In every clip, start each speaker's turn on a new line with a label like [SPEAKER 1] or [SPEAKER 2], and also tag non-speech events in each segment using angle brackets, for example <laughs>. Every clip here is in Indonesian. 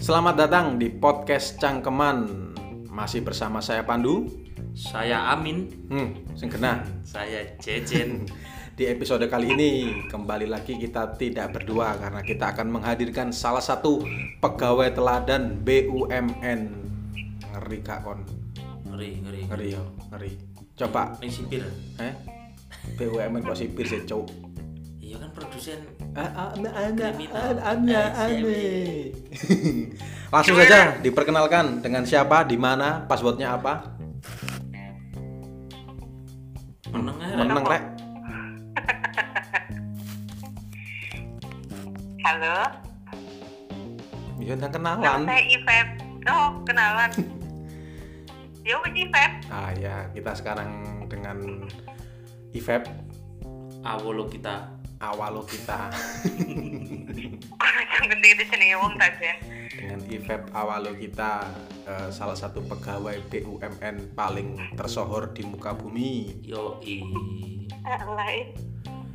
[SPEAKER 1] Selamat datang di podcast Cangkeman. Masih bersama saya Pandu.
[SPEAKER 2] Saya Amin,
[SPEAKER 1] Hmm, sing kena.
[SPEAKER 2] saya
[SPEAKER 1] <laughs>
[SPEAKER 2] Jejen.
[SPEAKER 1] Di episode kali ini kembali lagi kita tidak berdua karena kita akan menghadirkan salah satu pegawai teladan BUMN. Ngeri kak kon.
[SPEAKER 2] ngeri, ngeri.
[SPEAKER 1] Ngeri ya, ngeri. Coba
[SPEAKER 2] Ning sipir.
[SPEAKER 1] eh BUMN kok sipir sih, Cuk?
[SPEAKER 2] Iya kan produsen.
[SPEAKER 1] Ah, ah, nah, ah, nah,
[SPEAKER 2] Kriminal.
[SPEAKER 1] ah, ah, nah, ah,
[SPEAKER 2] Eh,
[SPEAKER 1] nih. Langsung saja diperkenalkan dengan siapa, di mana, passwordnya apa.
[SPEAKER 2] Menengah.
[SPEAKER 1] Meneng rek.
[SPEAKER 3] Halo,
[SPEAKER 1] Ya nang
[SPEAKER 3] nama
[SPEAKER 1] kenalan.
[SPEAKER 3] saya Ivep. Oh, kenalan. Yo, Mas Ivep.
[SPEAKER 1] Ah ya, kita sekarang dengan Ivep
[SPEAKER 2] Awolo kita.
[SPEAKER 1] awalo kita.
[SPEAKER 3] Kurang gede itu jenenge wong ta, Jen.
[SPEAKER 1] Dengan Ivep awalo kita eh, salah satu pegawai BUMN paling tersohor di muka bumi.
[SPEAKER 2] Yo i.
[SPEAKER 3] Alay.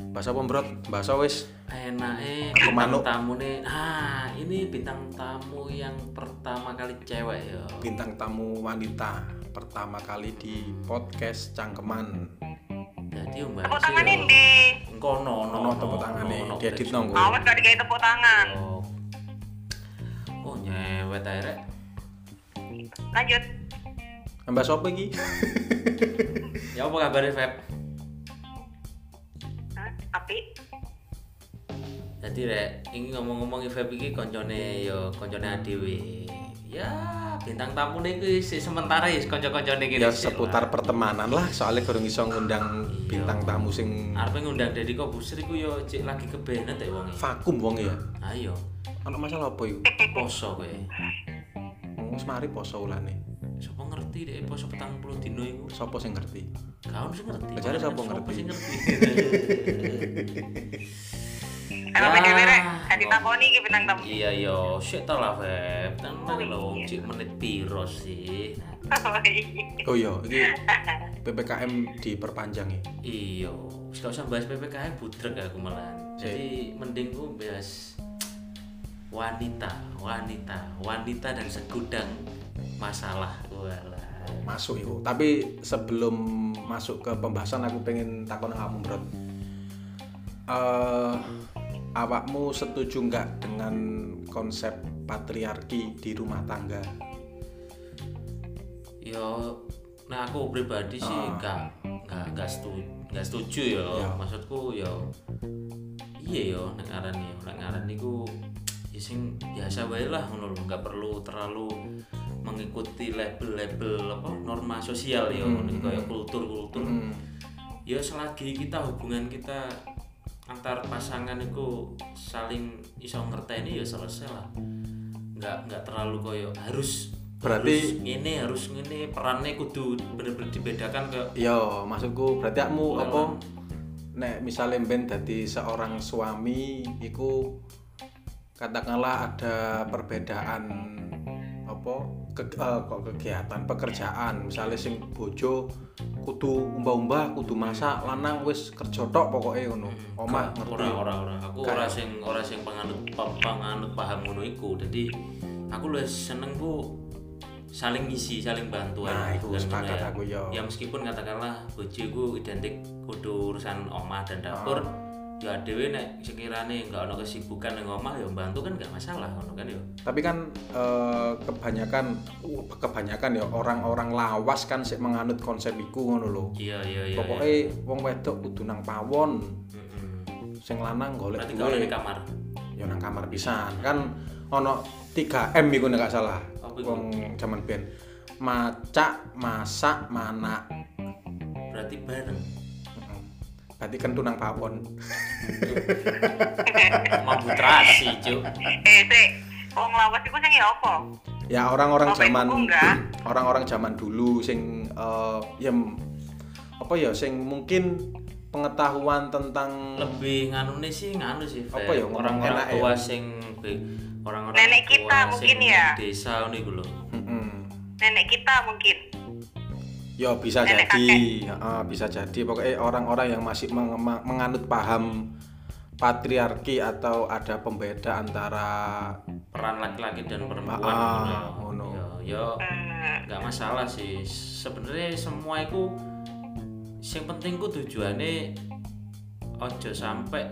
[SPEAKER 1] Bahasa pembrot, bahasa wis.
[SPEAKER 2] Enak eh
[SPEAKER 1] Aku
[SPEAKER 2] bintang
[SPEAKER 1] manuk.
[SPEAKER 2] tamu nih. Ah, ini bintang tamu yang pertama kali cewek ya.
[SPEAKER 1] Bintang tamu wanita pertama kali di podcast Cangkeman.
[SPEAKER 2] Jadi mbak.
[SPEAKER 3] Tepuk tangan ini.
[SPEAKER 2] Engko no no
[SPEAKER 1] Ono tepuk tangane diedit nang
[SPEAKER 3] Awas gak dikai tepuk tangan.
[SPEAKER 2] Oh. Oh nyewet ae rek.
[SPEAKER 3] Lanjut.
[SPEAKER 1] Mbak sapa iki?
[SPEAKER 2] Ya apa kabar Feb?
[SPEAKER 3] Hah? Api.
[SPEAKER 2] Jadi rek, ini ngomong-ngomong Feb iki koncone yo koncone adewe. Ya, bintang tamu nih kuwi sik sementara ya kanca-kancane
[SPEAKER 1] Ya
[SPEAKER 2] kene. sik
[SPEAKER 1] seputar
[SPEAKER 2] lah.
[SPEAKER 1] pertemanan lah, soalnya kurang iso ngundang bintang tamu sing
[SPEAKER 2] arepe e ngundang Deddy Kobusir iku yo cek lagi kebenet ya wonge.
[SPEAKER 1] vakum wong ya.
[SPEAKER 2] Ayo,
[SPEAKER 1] Ono masalah apa iku?
[SPEAKER 2] poso kowe.
[SPEAKER 1] Wong wis mari poso ulane.
[SPEAKER 2] Sopo ngerti dek poso petang puluh dino iku?
[SPEAKER 1] Sapa sing ngerti?
[SPEAKER 2] Kaon sing ngerti.
[SPEAKER 1] Lah, jare sopo ngerti?
[SPEAKER 2] sing ngerti?
[SPEAKER 3] Kalau
[SPEAKER 2] Ya.
[SPEAKER 3] PDW rek, tadi gitu, takoni iki bintang tamu.
[SPEAKER 2] Iya yo, sik ta lah Feb. Tenang lho, cek menit piro sih?
[SPEAKER 3] <laughs> Oh, iya.
[SPEAKER 1] Oh iya, iki PPKM diperpanjang ya.
[SPEAKER 2] Iya, wis gak usah bahas PPKM budrek aku malah. Jadi mending ku bahas wanita, wanita, wanita dan segudang masalah Walah.
[SPEAKER 1] Masuk itu. Tapi sebelum masuk ke pembahasan aku pengen takon nang kamu, Bro. Eh awakmu setuju nggak dengan konsep patriarki di rumah tangga?
[SPEAKER 2] Yo, Iya. nah aku pribadi sih
[SPEAKER 1] Ah.
[SPEAKER 2] gak gak gak setuju, gak setuju yo.
[SPEAKER 1] Iya.
[SPEAKER 2] Maksudku yo iya yo nek aran yo, nek aran niku ya sing biasa wae lah ngono lho, gak perlu terlalu mengikuti label-label apa norma sosial yo
[SPEAKER 1] Hmm,
[SPEAKER 2] ngono
[SPEAKER 1] hmm.
[SPEAKER 2] kaya kultur-kultur. ya selagi kita hubungan kita antar pasangan itu saling iso ngerteni ya selesai lah nggak nggak terlalu koyo harus
[SPEAKER 1] Berarti-
[SPEAKER 2] harus ngene harus ngene perannya kudu bener-bener dibedakan ke
[SPEAKER 1] Yo, maksudku berarti kamu
[SPEAKER 2] Boleh
[SPEAKER 1] apa?
[SPEAKER 2] lah.
[SPEAKER 1] Nek misalnya ben dadi seorang suami iku katakanlah ada perbedaan apa ke, eh, kok kegiatan pekerjaan misalnya sing bojo kudu umbah-umbah kudu masak lanang wis kerja tok pokoke ngono
[SPEAKER 2] Hmm,
[SPEAKER 1] omah
[SPEAKER 2] Nggak,
[SPEAKER 1] ngerti
[SPEAKER 2] ora ora ora aku
[SPEAKER 1] Kayak-
[SPEAKER 2] ora sing ora sing penganut pa- penganut paham ngono iku jadi aku lebih seneng ku saling ngisi saling bantuan
[SPEAKER 1] Nah, iku
[SPEAKER 2] Dan
[SPEAKER 1] sepakat
[SPEAKER 2] ngono ya.
[SPEAKER 1] aku, yo.
[SPEAKER 2] ya meskipun katakanlah bojo ku identik kudu urusan omah dan dapur ya dhewe nek sekirane nggak ono kesibukan nang omah ya bantu kan nggak masalah ngono kan yo
[SPEAKER 1] tapi kan eh, kebanyakan uh, kebanyakan ya orang-orang lawas kan sik menganut konsep iku ngono lho
[SPEAKER 2] iya iya iya
[SPEAKER 1] pokoke
[SPEAKER 2] iya.
[SPEAKER 1] wong wedok kudu nang pawon
[SPEAKER 2] Mm-mm.
[SPEAKER 1] sing lanang golek
[SPEAKER 2] berarti kau
[SPEAKER 1] duit.
[SPEAKER 2] di kamar
[SPEAKER 1] ya nang kamar pisan kan ono 3M iku nek gak salah
[SPEAKER 2] Apa Oh, iku?
[SPEAKER 1] wong jaman ben macak masak manak
[SPEAKER 2] berarti bareng
[SPEAKER 1] Mm-mm. berarti kentu nang pawon
[SPEAKER 2] mampu terasi cuk
[SPEAKER 3] Eh, sik. Wong lawas iku sing ya apa?
[SPEAKER 1] ya orang-orang
[SPEAKER 3] Apa iku
[SPEAKER 1] zaman
[SPEAKER 3] enggak?
[SPEAKER 1] <clears throat> orang-orang zaman dulu sing eh, ya m- apa ya sing mungkin pengetahuan tentang
[SPEAKER 2] lebih nganu nih sih nganu sih Fer.
[SPEAKER 1] Apa ya, ngomong
[SPEAKER 2] orang-orang
[SPEAKER 1] enak ya?
[SPEAKER 2] tua sing be- orang-orang
[SPEAKER 3] Nenek
[SPEAKER 2] tua
[SPEAKER 3] kita mungkin
[SPEAKER 2] sing
[SPEAKER 3] ya?
[SPEAKER 2] desa ini gue loh
[SPEAKER 1] Mm-mm.
[SPEAKER 3] Nenek kita mungkin.
[SPEAKER 1] Ya bisa
[SPEAKER 3] Nenek
[SPEAKER 1] jadi, Heeh, bisa jadi. Pokoknya orang-orang yang masih meng- ma- menganut paham patriarki atau ada pembeda antara
[SPEAKER 2] peran laki-laki dan perempuan
[SPEAKER 1] Ah,
[SPEAKER 2] ngono.
[SPEAKER 1] ngono.
[SPEAKER 2] ya ya
[SPEAKER 3] Eh,
[SPEAKER 2] nggak masalah sih sebenarnya semua itu yang penting ku tujuannya ojo sampai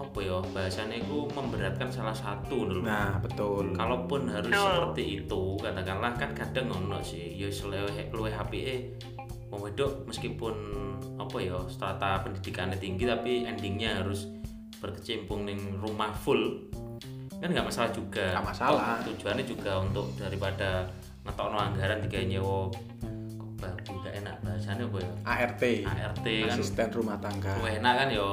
[SPEAKER 2] apa ya bahasanya ku memberatkan salah satu dulu
[SPEAKER 1] Nah, betul.
[SPEAKER 2] Hmm. kalaupun harus
[SPEAKER 3] Betul.
[SPEAKER 2] seperti itu katakanlah kan kadang ngono sih ya seleweh luwe HPE wong wedok meskipun apa ya strata pendidikannya tinggi tapi endingnya harus berkecimpung di rumah full kan nggak masalah juga
[SPEAKER 1] Nggak masalah.
[SPEAKER 2] Toh, tujuannya juga untuk daripada ngetokno anggaran tiga nyewa kok baku nggak enak bahasanya apa ya
[SPEAKER 1] ART,
[SPEAKER 2] ART kan
[SPEAKER 1] asisten rumah tangga.
[SPEAKER 2] Luwih enak kan yo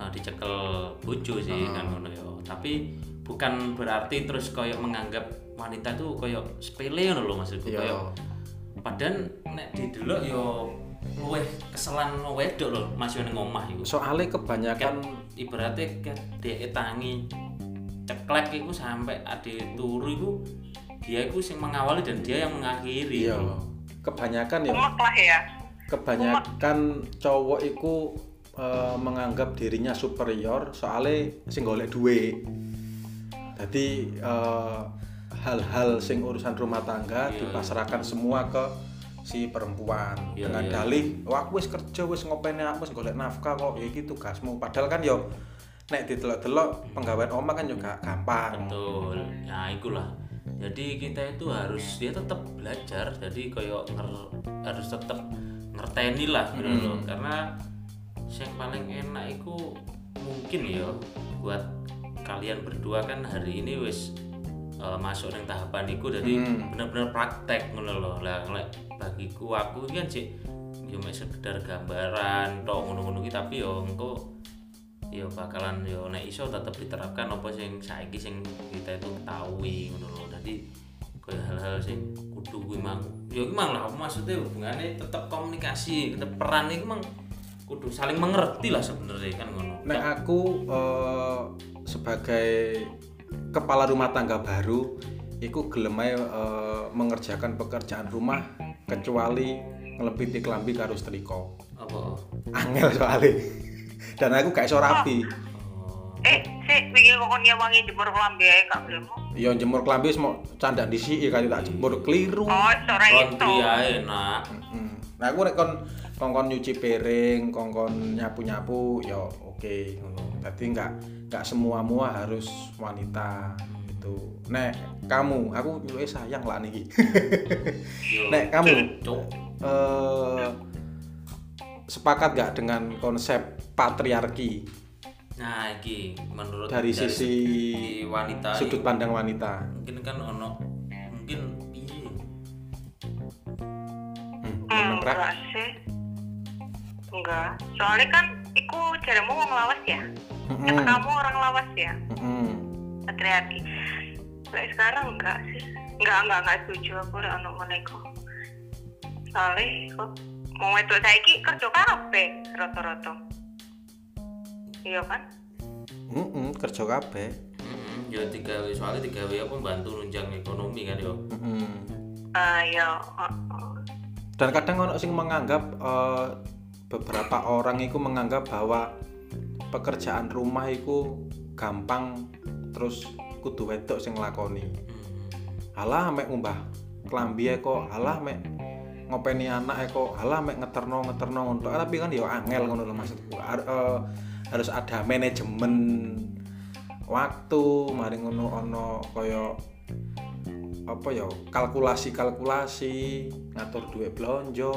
[SPEAKER 2] eh, dicekel bojo sih
[SPEAKER 1] Heeh.
[SPEAKER 2] kan ngono yo. Tapi bukan berarti terus koyok menganggap wanita itu koyok sepele ngono lho maksudku
[SPEAKER 1] Iya.
[SPEAKER 2] koyok. Padahal nek didelok yo luwih keselan wong wedok lho Mas yo ning omah iku.
[SPEAKER 1] Soalnya kebanyakan
[SPEAKER 2] Ibaratnya ke dhek tangi ceklek iku sampai ade turu iku dia iku sing mengawali dan dia yang mengakhiri.
[SPEAKER 1] iya. Kebanyakan ya,
[SPEAKER 3] umek lah ya.
[SPEAKER 1] kebanyakan cowok iku eh, menganggap dirinya superior soalnya sing golek duwe. Jadi eh, hal-hal sing urusan rumah tangga
[SPEAKER 2] Iya,
[SPEAKER 1] dipasrahkan semua ke si perempuan
[SPEAKER 2] Iya,
[SPEAKER 1] dengan
[SPEAKER 2] iya.
[SPEAKER 1] dalih wah aku wis kerja wis ngopeni aku wis golek nafkah kok ya iki tugasmu padahal kan yo nek ditelok-telok penggawean omah kan juga gampang
[SPEAKER 2] betul nah ikulah jadi kita itu harus dia tetap belajar jadi koyo nger- harus tetap ngerteni lah gitu
[SPEAKER 1] Mm.
[SPEAKER 2] loh. karena yang paling enak itu mungkin ya buat kalian berdua kan hari ini wis eh, masuk neng tahapan itu jadi
[SPEAKER 1] Mm.
[SPEAKER 2] bener-bener praktek ngono loh lah lek bagiku aku iki kan sih yo mek sekedar gambaran tok ngono-ngono iki tapi yo engko yo bakalan yo nek iso tetep diterapkan apa sing saiki sing kita itu ketahui ngono loh jadi kayak hal-hal sing kudu kuwi mang yo iki mang lah maksudnya hubungannya tetep komunikasi tetep peran iki mang kudu saling mengerti lah sebenarnya kan ngono
[SPEAKER 1] Nek aku eh, sebagai kepala rumah tangga baru, iku gelem ae, eh, mengerjakan pekerjaan rumah kecuali ngelebiti kelambi karo setrika.
[SPEAKER 2] apa
[SPEAKER 1] Angel soalnya. Dan aku gak iso rapi.
[SPEAKER 2] Oh.
[SPEAKER 3] Eh, sik wingi kok nyewangi jemur kelambi ae kak belum.
[SPEAKER 1] Ya jemur kelambi wis mau candak dhisiki kali tak jemur keliru.
[SPEAKER 3] Oh, sore itu.
[SPEAKER 2] laundry ae nak
[SPEAKER 1] Mm. Nah aku nek kon kongkon nyuci piring, kongkon nyapu-nyapu, ya oke ngono. Dadi enggak enggak semua-mua harus wanita gitu. Nek kamu, aku nyuwe sayang lah niki. <laughs>
[SPEAKER 2] yo
[SPEAKER 1] nek kamu
[SPEAKER 2] cuk
[SPEAKER 1] eh sepakat nggak dengan konsep patriarki
[SPEAKER 2] nah iki menurut
[SPEAKER 1] dari sisi
[SPEAKER 2] segi wanita
[SPEAKER 1] sudut pandang wanita?
[SPEAKER 2] mungkin kan ono mungkin piye
[SPEAKER 1] Hmm,
[SPEAKER 3] Hmm,
[SPEAKER 1] meneng, Rek.
[SPEAKER 3] enggak sih. Enggak. Soalnya kan iku jaremu wong lawas ya.
[SPEAKER 1] Mm-mm,
[SPEAKER 3] Kamu orang lawas ya,
[SPEAKER 1] mm-mm.
[SPEAKER 3] patriarki. Lek sekarang enggak sih. Enggak, enggak, enggak setuju aku ora ono ngene iku. Soalnya kok mau wedok saiki kerja kabeh rata-rata. Iya kan?
[SPEAKER 1] Mm-mm, Hmm. kerja kabeh.
[SPEAKER 2] Mm-mm, ya tiga W soalnya tiga W apa bantu nunjang ekonomi kan yo.
[SPEAKER 1] Mm-mm.
[SPEAKER 3] Ah, ya. heeh.
[SPEAKER 1] dan kadang ono sing menganggap eh, beberapa orang itu menganggap bahwa pekerjaan rumah itu gampang terus kudu wedok sing lakoni alah mek ngumbah kelambi ae kok alah mek ngopeni anak ae kok alah mek ngeterno ngeterno untuk tapi kan ya angel ngono lho maksudku Har- eh, harus ada manajemen waktu mari ngono ono kaya apa ya kalkulasi kalkulasi ngatur duit blonjo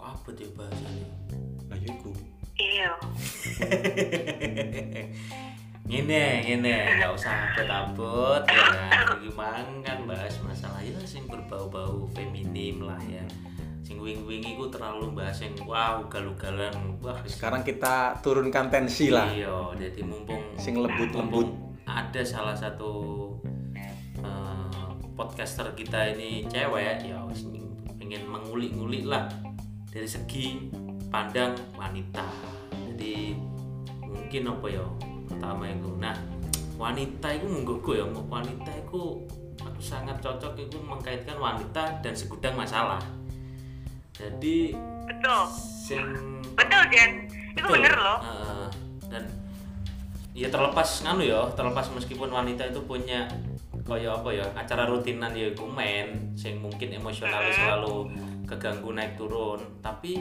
[SPEAKER 2] Kok abot ya bahasanya?
[SPEAKER 1] lah ya iku
[SPEAKER 3] Iya.
[SPEAKER 2] <laughs> Ngene, ngene, nggak usah abot-abot ya kan. Iki mang kan bahas masalah ya sing berbau-bau feminim lah ya. Sing wing-wing iku terlalu bahas yang wah ugal-ugalan. Wah,
[SPEAKER 1] sekarang kita turunkan tensi lah
[SPEAKER 2] Iya, jadi mumpung
[SPEAKER 1] Sing lembut-lembut.
[SPEAKER 2] mumpung Ada salah satu eh, podcaster kita ini cewek ya wis pengen mengulik-ngulik lah dari segi pandang wanita. Jadi mungkin apa ya pertama itu. Nah, wanita itu menggugah ya, wanita itu aku sangat cocok itu mengkaitkan wanita dan segudang masalah. Jadi
[SPEAKER 3] Betul.
[SPEAKER 2] sing
[SPEAKER 3] Betul, Jen. Itu
[SPEAKER 2] Betul.
[SPEAKER 3] bener loh.
[SPEAKER 2] Heeh. dan ya terlepas nganu ya terlepas meskipun wanita itu punya kaya apa ya acara rutinan ya iku men sing mungkin emosionalnya selalu keganggu naik turun tapi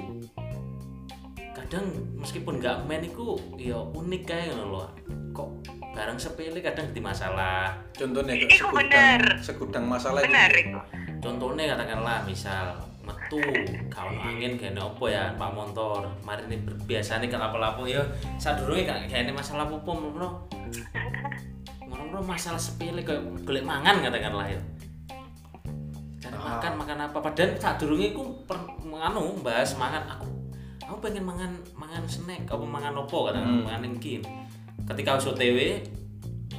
[SPEAKER 2] kadang meskipun nggak men iku ya unik kayak ngono loh kok barang sepele kadang di masalah
[SPEAKER 1] Contohnya kayak
[SPEAKER 3] Iku bener.
[SPEAKER 1] segudang, segudang masalah itu.
[SPEAKER 3] benar itu
[SPEAKER 2] contohnya katakanlah misal metu kau angin gene apa ya pak motor mari ini berbiasa nih kalau lapo ya sadurunge kan gene masalah apa ngono ngono masalah sepele kayak golek mangan katakanlah ya cari
[SPEAKER 1] Ah.
[SPEAKER 2] makan makan apa padahal sadurunge ku per, nganu bahas mangan aku aku pengen mangan mangan snack apa mangan opo katakan
[SPEAKER 1] Hmm.
[SPEAKER 2] mangan engkin ketika wis OTW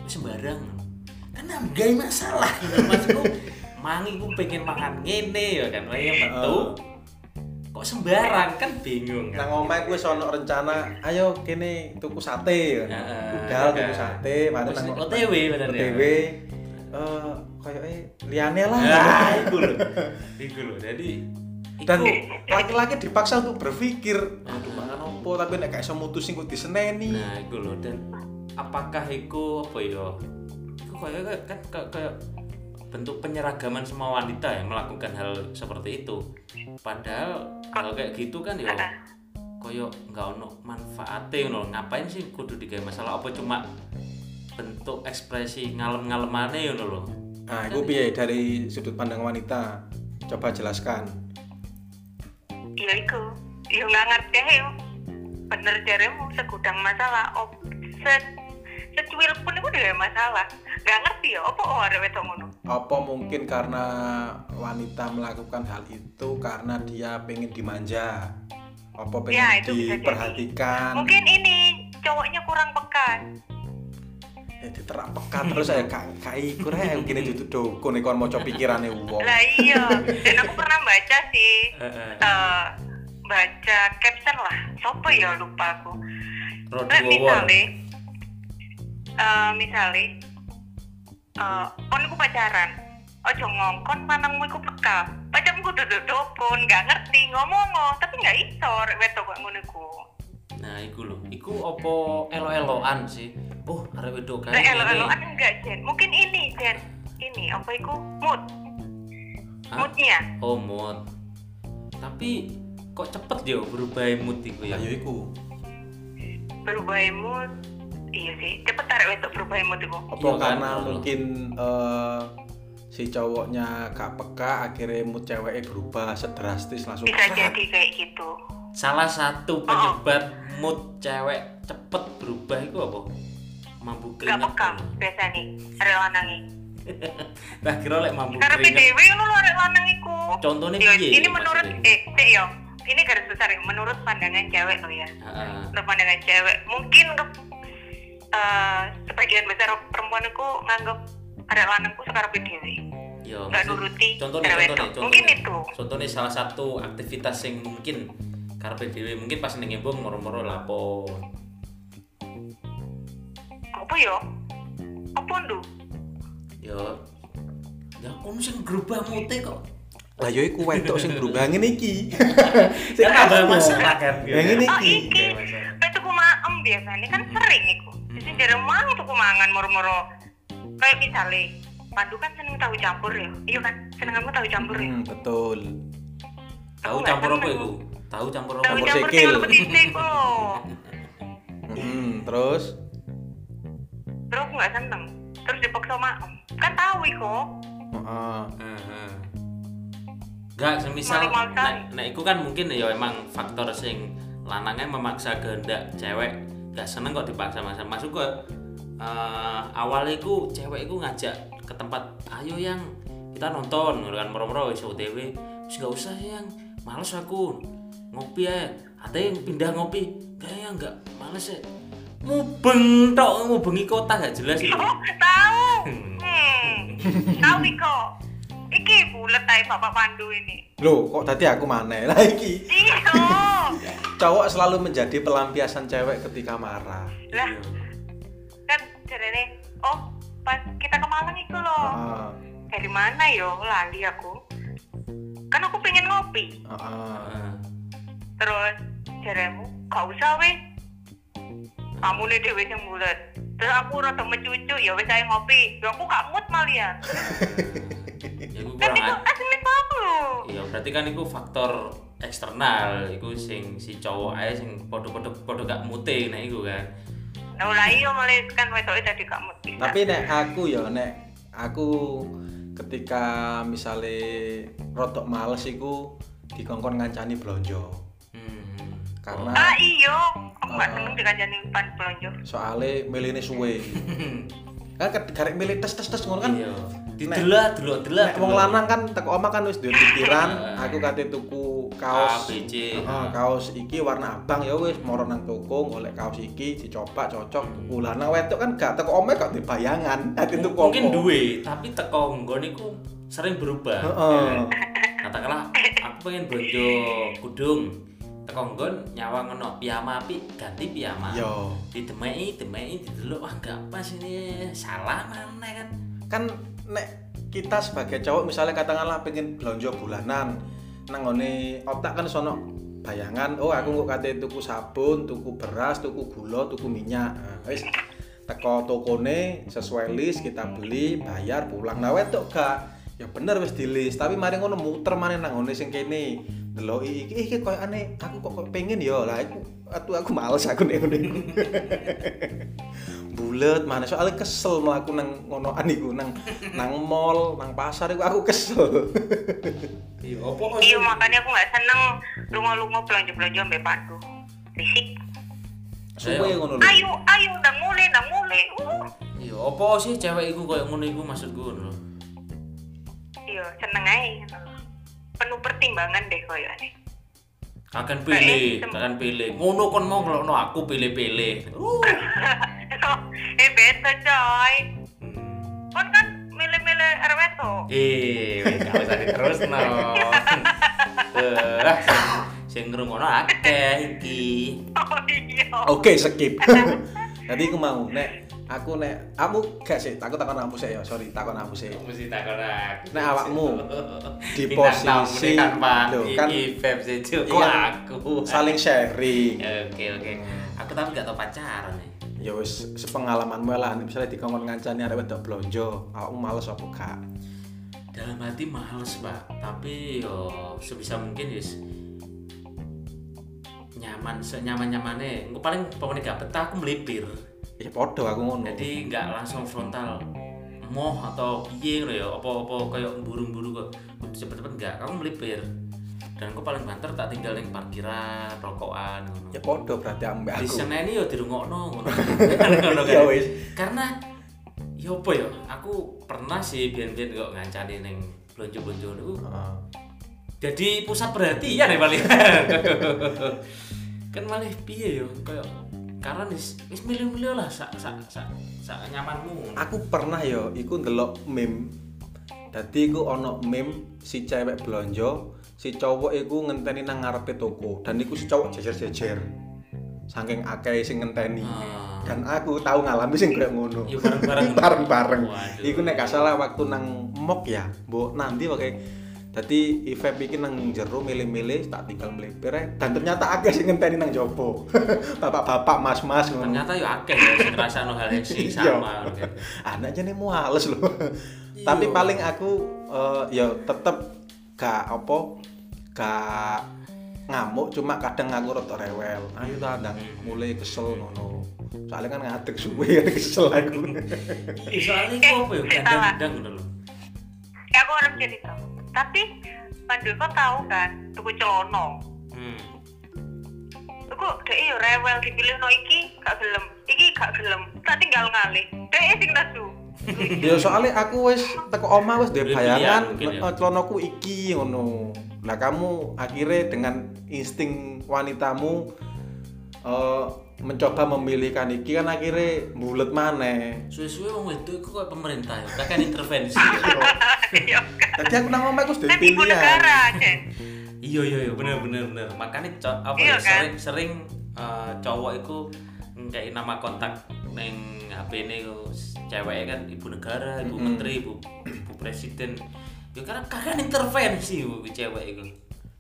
[SPEAKER 2] wis sembarang kan gay
[SPEAKER 1] <laughs>
[SPEAKER 2] masalah maksudku mangi ku pengen makan ngene ya kan pengen metu kok sembarang kan bingung
[SPEAKER 1] Ah. Nang
[SPEAKER 2] kan
[SPEAKER 1] omahe kuwi wis ana rencana, ayo kene tuku sate ya.
[SPEAKER 2] Heeh.
[SPEAKER 1] Budal tuku sate, mari
[SPEAKER 2] Wis
[SPEAKER 1] nang
[SPEAKER 2] OTW bener ya.
[SPEAKER 1] OTW. Eh koyoke liyane lah.
[SPEAKER 2] nah iku lho iku lho jadi iku-
[SPEAKER 1] Dan laki-laki dipaksa untuk berpikir, aduh mangan opo tapi nek gak iso mutusin kok diseneni.
[SPEAKER 2] Nah, iku lho dan apakah iku apa ya? Iku kaya kaya- kan kaya, kaya bentuk penyeragaman semua wanita ya melakukan hal seperti itu. Padahal hal kayak gitu kan ya kaya nggak ono manfaatnya ngono. Ngapain sih kudu digawe masalah apa cuma bentuk ekspresi ngalem-ngalemane ngono lho.
[SPEAKER 1] Nah, itu piye dari sudut pandang wanita? Coba jelaskan.
[SPEAKER 3] ya iku yo nggak ngerti yo bener jaremu segudang masalah op set secuil pun itu dewe masalah nggak ngerti ya apa orang wedok ngono
[SPEAKER 1] Apa mungkin karena wanita melakukan hal itu karena dia pengen dimanja? Apa pengen
[SPEAKER 3] Ya, itu bisa jadi.
[SPEAKER 1] diperhatikan?
[SPEAKER 3] mungkin ini cowoknya kurang peka
[SPEAKER 1] Ya, diterapekan terus saya kayak kayak kurang gini duduk dukun nih kon mau pikirannya wong.
[SPEAKER 3] lah iya dan aku pernah baca sih
[SPEAKER 2] Heeh.
[SPEAKER 3] eh, baca caption lah sopo ya lupa aku
[SPEAKER 2] Rodi
[SPEAKER 3] Lek
[SPEAKER 2] wawon.
[SPEAKER 3] misalnya eh misalnya eh kon iku pacaran ojo ngongkon lanangmu iku peka pacarmu kudu duduk pun nggak ngerti ngomong tapi nggak iso rek wedok kok ngono iku
[SPEAKER 2] Nah, iku lho. Iku apa elo-eloan sih? Oh, arep wedok kae.
[SPEAKER 3] rek
[SPEAKER 2] ngene.
[SPEAKER 3] Eh, elo-eloan enggak Jen mungkin ini Jen ini apa iku mood
[SPEAKER 2] Hah?
[SPEAKER 3] moodnya
[SPEAKER 2] Oh mood. Tapi kok cepet ya berubah mood iku ya?
[SPEAKER 1] Ya yo iku.
[SPEAKER 3] berubah mood iya sih cepet tarik wedok berubah mood iku
[SPEAKER 1] Apa
[SPEAKER 2] Iya kan,
[SPEAKER 1] karena
[SPEAKER 2] ngono.
[SPEAKER 1] mungkin eh, si cowoknya gak peka akhirnya mood ceweknya berubah sedrastis langsung
[SPEAKER 2] Iya,
[SPEAKER 3] bisa
[SPEAKER 1] "Sat,
[SPEAKER 3] jadi kayak gitu
[SPEAKER 2] Salah
[SPEAKER 3] Oh,
[SPEAKER 2] satu penyebab mood cewek cepet berubah itu apa? Mambu
[SPEAKER 3] nggak
[SPEAKER 2] keringat.
[SPEAKER 3] peka biasa nih rek lanangi
[SPEAKER 2] Nah, kira lek mambu
[SPEAKER 3] Karepe
[SPEAKER 2] keringat.
[SPEAKER 3] dhewe ngono lho arek lanang iku.
[SPEAKER 2] Contohnya
[SPEAKER 3] Yo,
[SPEAKER 2] piye?
[SPEAKER 3] ini menurut
[SPEAKER 2] maksudnya?
[SPEAKER 3] eh sik yo. Ini garis besar ya, menurut pandangan cewek lo ya.
[SPEAKER 2] Heeh.
[SPEAKER 3] Menurut pandangan cewek, mungkin ke, eh, sebagian besar perempuan itu nganggep arek lanang ku sekarepe dhewe.
[SPEAKER 2] Yo, maksud-
[SPEAKER 3] Nggak nuruti
[SPEAKER 2] contohnya,
[SPEAKER 3] cewek
[SPEAKER 2] contohnya,
[SPEAKER 3] itu.
[SPEAKER 2] contohnya.
[SPEAKER 3] Mungkin itu.
[SPEAKER 2] Contohnya salah satu aktivitas yang mungkin karpe dhewe mungkin pas ning embung moro-moro lapo.
[SPEAKER 3] Apa yo? Apa ndu?
[SPEAKER 2] Yo. Ya kon sing berubah mood kok.
[SPEAKER 1] Lah yo iku wedok sing berubah ngene
[SPEAKER 2] <laughs>
[SPEAKER 1] iki.
[SPEAKER 2] Kan tambah masalah kan.
[SPEAKER 1] Ya ngene
[SPEAKER 3] Oh
[SPEAKER 1] iki.
[SPEAKER 3] iki, kayak tuku maem biasanya kan sering iku. Jadi jarang mangan tuku mangan moro-moro. Kayak misalnya, Pandu kan seneng tahu campur ya. Iya kan? Seneng kamu tahu campur ya.
[SPEAKER 1] Hmm, betul.
[SPEAKER 2] Tahu
[SPEAKER 3] Aku nggak
[SPEAKER 2] campur apa
[SPEAKER 3] seneng.
[SPEAKER 2] iku? Tahu campur apa?
[SPEAKER 3] Tahu
[SPEAKER 1] Campur
[SPEAKER 3] campur
[SPEAKER 1] sikil.
[SPEAKER 3] tinggal petisik loh.
[SPEAKER 1] Hmm, terus
[SPEAKER 3] terus aku nggak seneng terus dipaksa maem kan tahu iko
[SPEAKER 1] Heeh.
[SPEAKER 2] Enggak, semisal
[SPEAKER 3] Malu-malu
[SPEAKER 2] nah, nah itu kan mungkin ya emang faktor sing lanangnya memaksa kehendak cewek gak seneng kok dipaksa maksa masuk kok eh, awalnya ku cewek ku ngajak ke tempat ayo yang kita nonton ngono kan moro-moro wis OTW wis gak usah yang males aku ngopi aja ada yang pindah ngopi gak ya gak males ya mubeng tok mubengi kota gak jelas itu
[SPEAKER 3] tahu hmm tahu iko iki bulet aja bapak pandu ini
[SPEAKER 1] Loh, kok tadi aku maneh lah iki.
[SPEAKER 3] iyo
[SPEAKER 1] Cowok selalu menjadi pelampiasan cewek ketika marah.
[SPEAKER 3] lah kan jarene oh pas kita ke Malang iku loh
[SPEAKER 1] Heeh.
[SPEAKER 3] dari mana yo lali aku kan aku pengen ngopi
[SPEAKER 1] Heeh.
[SPEAKER 2] Heeh.
[SPEAKER 3] terus jaremu gak usah weh kamu nih dewe yang bulet terus aku rada mencucu ya wis ae ngopi ya aku gak mood malian
[SPEAKER 2] ya iku
[SPEAKER 3] kan
[SPEAKER 2] kurang
[SPEAKER 3] itu asli aku lho
[SPEAKER 2] ya berarti kan iku faktor eksternal iku sing si cowok ae sing podo-podo podo gak mute nek iku kan
[SPEAKER 3] nah lah iya mulai kan wedoke tadi gak mood bisa.
[SPEAKER 1] tapi nek aku ya nek aku ketika misalnya rotok males iku dikongkon ngancani blonjo
[SPEAKER 2] hmm. <laughs>
[SPEAKER 1] Karena-
[SPEAKER 3] ah iya aku gak
[SPEAKER 1] Ah.
[SPEAKER 3] seneng dikancani pan pelonjo
[SPEAKER 1] soale milihne suwe kan ket- garek milih tes tes tes ngono
[SPEAKER 2] kan
[SPEAKER 1] kan
[SPEAKER 2] iya didelak delok delok
[SPEAKER 1] nek wong lanang kan teko omah kan wis duwe pikiran aku kate tuku kaos
[SPEAKER 2] ABC.
[SPEAKER 1] Heeh, kaos iki warna abang ya wis moro nang toko golek kaos iki dicoba cocok tuku lanang wedok kan gak teko omah gak duwe bayangan kate tuku
[SPEAKER 2] mungkin
[SPEAKER 1] apa.
[SPEAKER 2] duwe tapi teko nggone iku sering berubah
[SPEAKER 1] Heeh.
[SPEAKER 2] ya kan? katakanlah aku pengen bojo kudung teko nggon nyawa ngono piyama api ganti piyama
[SPEAKER 1] yo
[SPEAKER 2] didemeki demeki didelok wah gak pas ini salah mana kan
[SPEAKER 1] kan nek kita sebagai cowok misalnya katakanlah pengen belanja bulanan nang ngone otak kan sono bayangan oh aku kok kate tuku sabun tuku beras tuku gula tuku minyak Nah, wis teko tokone sesuai list kita beli bayar pulang nah wedok gak ya bener wis di list tapi mari ngono muter maneh nang ngone sing kene deloki iki "Ih, iki koyo aneh aku kok kok pengen ya lah aku aku, aku males aku nek ngene iku. bulet mana soalnya kesel melaku nang <laughs> ngonoan iku nang nang mall nang pasar iku aku
[SPEAKER 2] <laughs>
[SPEAKER 1] kesel
[SPEAKER 2] iya apa kok
[SPEAKER 3] iya makanya aku gak seneng lunga-lunga pelonjo-pelonjo ambek pandu risik
[SPEAKER 1] suwe
[SPEAKER 2] Ayo.
[SPEAKER 1] ngono lho
[SPEAKER 3] ayo ayo ndang mulai ndang mulai uh
[SPEAKER 2] iya apa sih cewek iku koyo ngono iku maksudku ngono lho.
[SPEAKER 3] iya seneng ae gitu lho. penuh pertimbangan deh koyo aneh
[SPEAKER 2] Kakan
[SPEAKER 3] Eh,
[SPEAKER 2] pilih,
[SPEAKER 3] tem-
[SPEAKER 2] kakan pilih. Ngono kon mau ngelokno aku pilih-pilih. Uh.
[SPEAKER 3] eh beda coy
[SPEAKER 2] Hmm.
[SPEAKER 3] kon kan milih-milih RW
[SPEAKER 2] Eh, gak usah diterusno. Eh, ah, sing- sing ngrungokno akeh iki.
[SPEAKER 3] oh iya
[SPEAKER 1] oke skip jadi aku mau nek aku nek kamu gak sih aku takon aku sih ya sorry takon aku sih
[SPEAKER 2] Mesti takon aku.
[SPEAKER 1] Nek awakmu di
[SPEAKER 2] Bintang tamu
[SPEAKER 1] posisi-
[SPEAKER 2] nih kan Pak.
[SPEAKER 1] Loh,
[SPEAKER 2] Iki
[SPEAKER 1] kan-
[SPEAKER 2] Feb Sejo
[SPEAKER 1] Iya
[SPEAKER 2] kok
[SPEAKER 1] kan?
[SPEAKER 2] aku.
[SPEAKER 1] saling sharing
[SPEAKER 2] Oke, oke. Aku tapi gak tau pacaran nih.
[SPEAKER 1] ya wis sepengalamanmu lah nek misalnya dikongkon ngancani arek wedok blonjo awakmu males apa gak
[SPEAKER 2] dalam hati males pak tapi yo sebisa mungkin yes nyaman senyaman nyamannya Engko paling pokoknya gak betah aku melipir
[SPEAKER 1] ya podo aku ngono
[SPEAKER 2] jadi nggak langsung frontal moh atau piye ngono ya apa apa kayak burung-burung kok Kudu cepet-cepet nggak kamu melipir dan aku paling banter tak tinggal yang parkiran rokokan ngono
[SPEAKER 1] ya podo berarti ambek
[SPEAKER 2] di
[SPEAKER 1] aku
[SPEAKER 2] Senen yo dirungokno ngono. <laughs> Ngono kan.
[SPEAKER 1] <laughs> Ya wis.
[SPEAKER 2] Karena yo apa ya? Aku pernah sih biyen-biyen kok ngancani ning blonjo-blonjo niku
[SPEAKER 1] Heeh.
[SPEAKER 2] jadi pusat perhatian ya paling. kan malah piye yo koyo karena wis wis milih-milih lah sak sak sak sak nyamanmu.
[SPEAKER 1] aku pernah yo iku ndelok meme dadi iku ono meme si cewek blonjo si cowok iku ngenteni nang ngarepe toko dan iku si cowok jejer-jejer saking akeh sing ngenteni
[SPEAKER 2] Ah.
[SPEAKER 1] dan aku tahu ngalami sing kayak ngono
[SPEAKER 2] Yo bareng-bareng.
[SPEAKER 1] <laughs> bareng-bareng
[SPEAKER 2] Waduh.
[SPEAKER 1] iku nek gak salah waktu nang mok ya mbok nanti pakai Tadi Ivep iki nang jero milih-milih tak tinggal melipir ae. dan ternyata akeh sing ngenteni nang jopo. <laughs> Bapak-bapak, mas-mas ngono.
[SPEAKER 2] Ternyata yo akeh yo sing ngrasakno hal yang sing sama.
[SPEAKER 1] Iya. anaknya nih males loh tapi
[SPEAKER 2] Iya.
[SPEAKER 1] paling aku eh, ya tetep gak apa gak ngamuk cuma kadang aku rada rewel ayo ta ndang mulai kesel ngono soalnya kan ngadeg suwe <laughs> kan kesel aku
[SPEAKER 2] Ih, Soalnya iku apa yo gandang-gandang ngono lho.
[SPEAKER 3] ya aku harus cerita tapi Pandu kau tahu kan tuku celono
[SPEAKER 2] Hmm.
[SPEAKER 3] aku deh yo rewel dipilih no iki gak gelem iki gak gelem tak tinggal ngalih deh sing nesu
[SPEAKER 1] ya soalnya aku wis teko oma wis duwe
[SPEAKER 2] Duwe
[SPEAKER 1] bayangan
[SPEAKER 2] pilihan mungkin ya.
[SPEAKER 1] eh, celonoku iki ngono lah kamu akhirnya dengan insting wanitamu eh, mencoba memilihkan iki kan akhirnya bulet maneh
[SPEAKER 2] Suwe-suwe wong wedok iku koyo pemerintah yo, kakek intervensi.
[SPEAKER 3] Iya, kan.
[SPEAKER 1] Tadi aku nang omah aku sudah
[SPEAKER 3] kan ibu
[SPEAKER 1] pilihan.
[SPEAKER 3] negara Cek.
[SPEAKER 2] Iya iya iya bener bener bener. Makanya co- apa ya,
[SPEAKER 3] Iya kan?
[SPEAKER 2] sering sering eh, cowok itu ngkai nama kontak neng HP ini cewek kan ibu negara, ibu menteri, ibu, ibu presiden. Ya karena kakek intervensi bu cewek itu.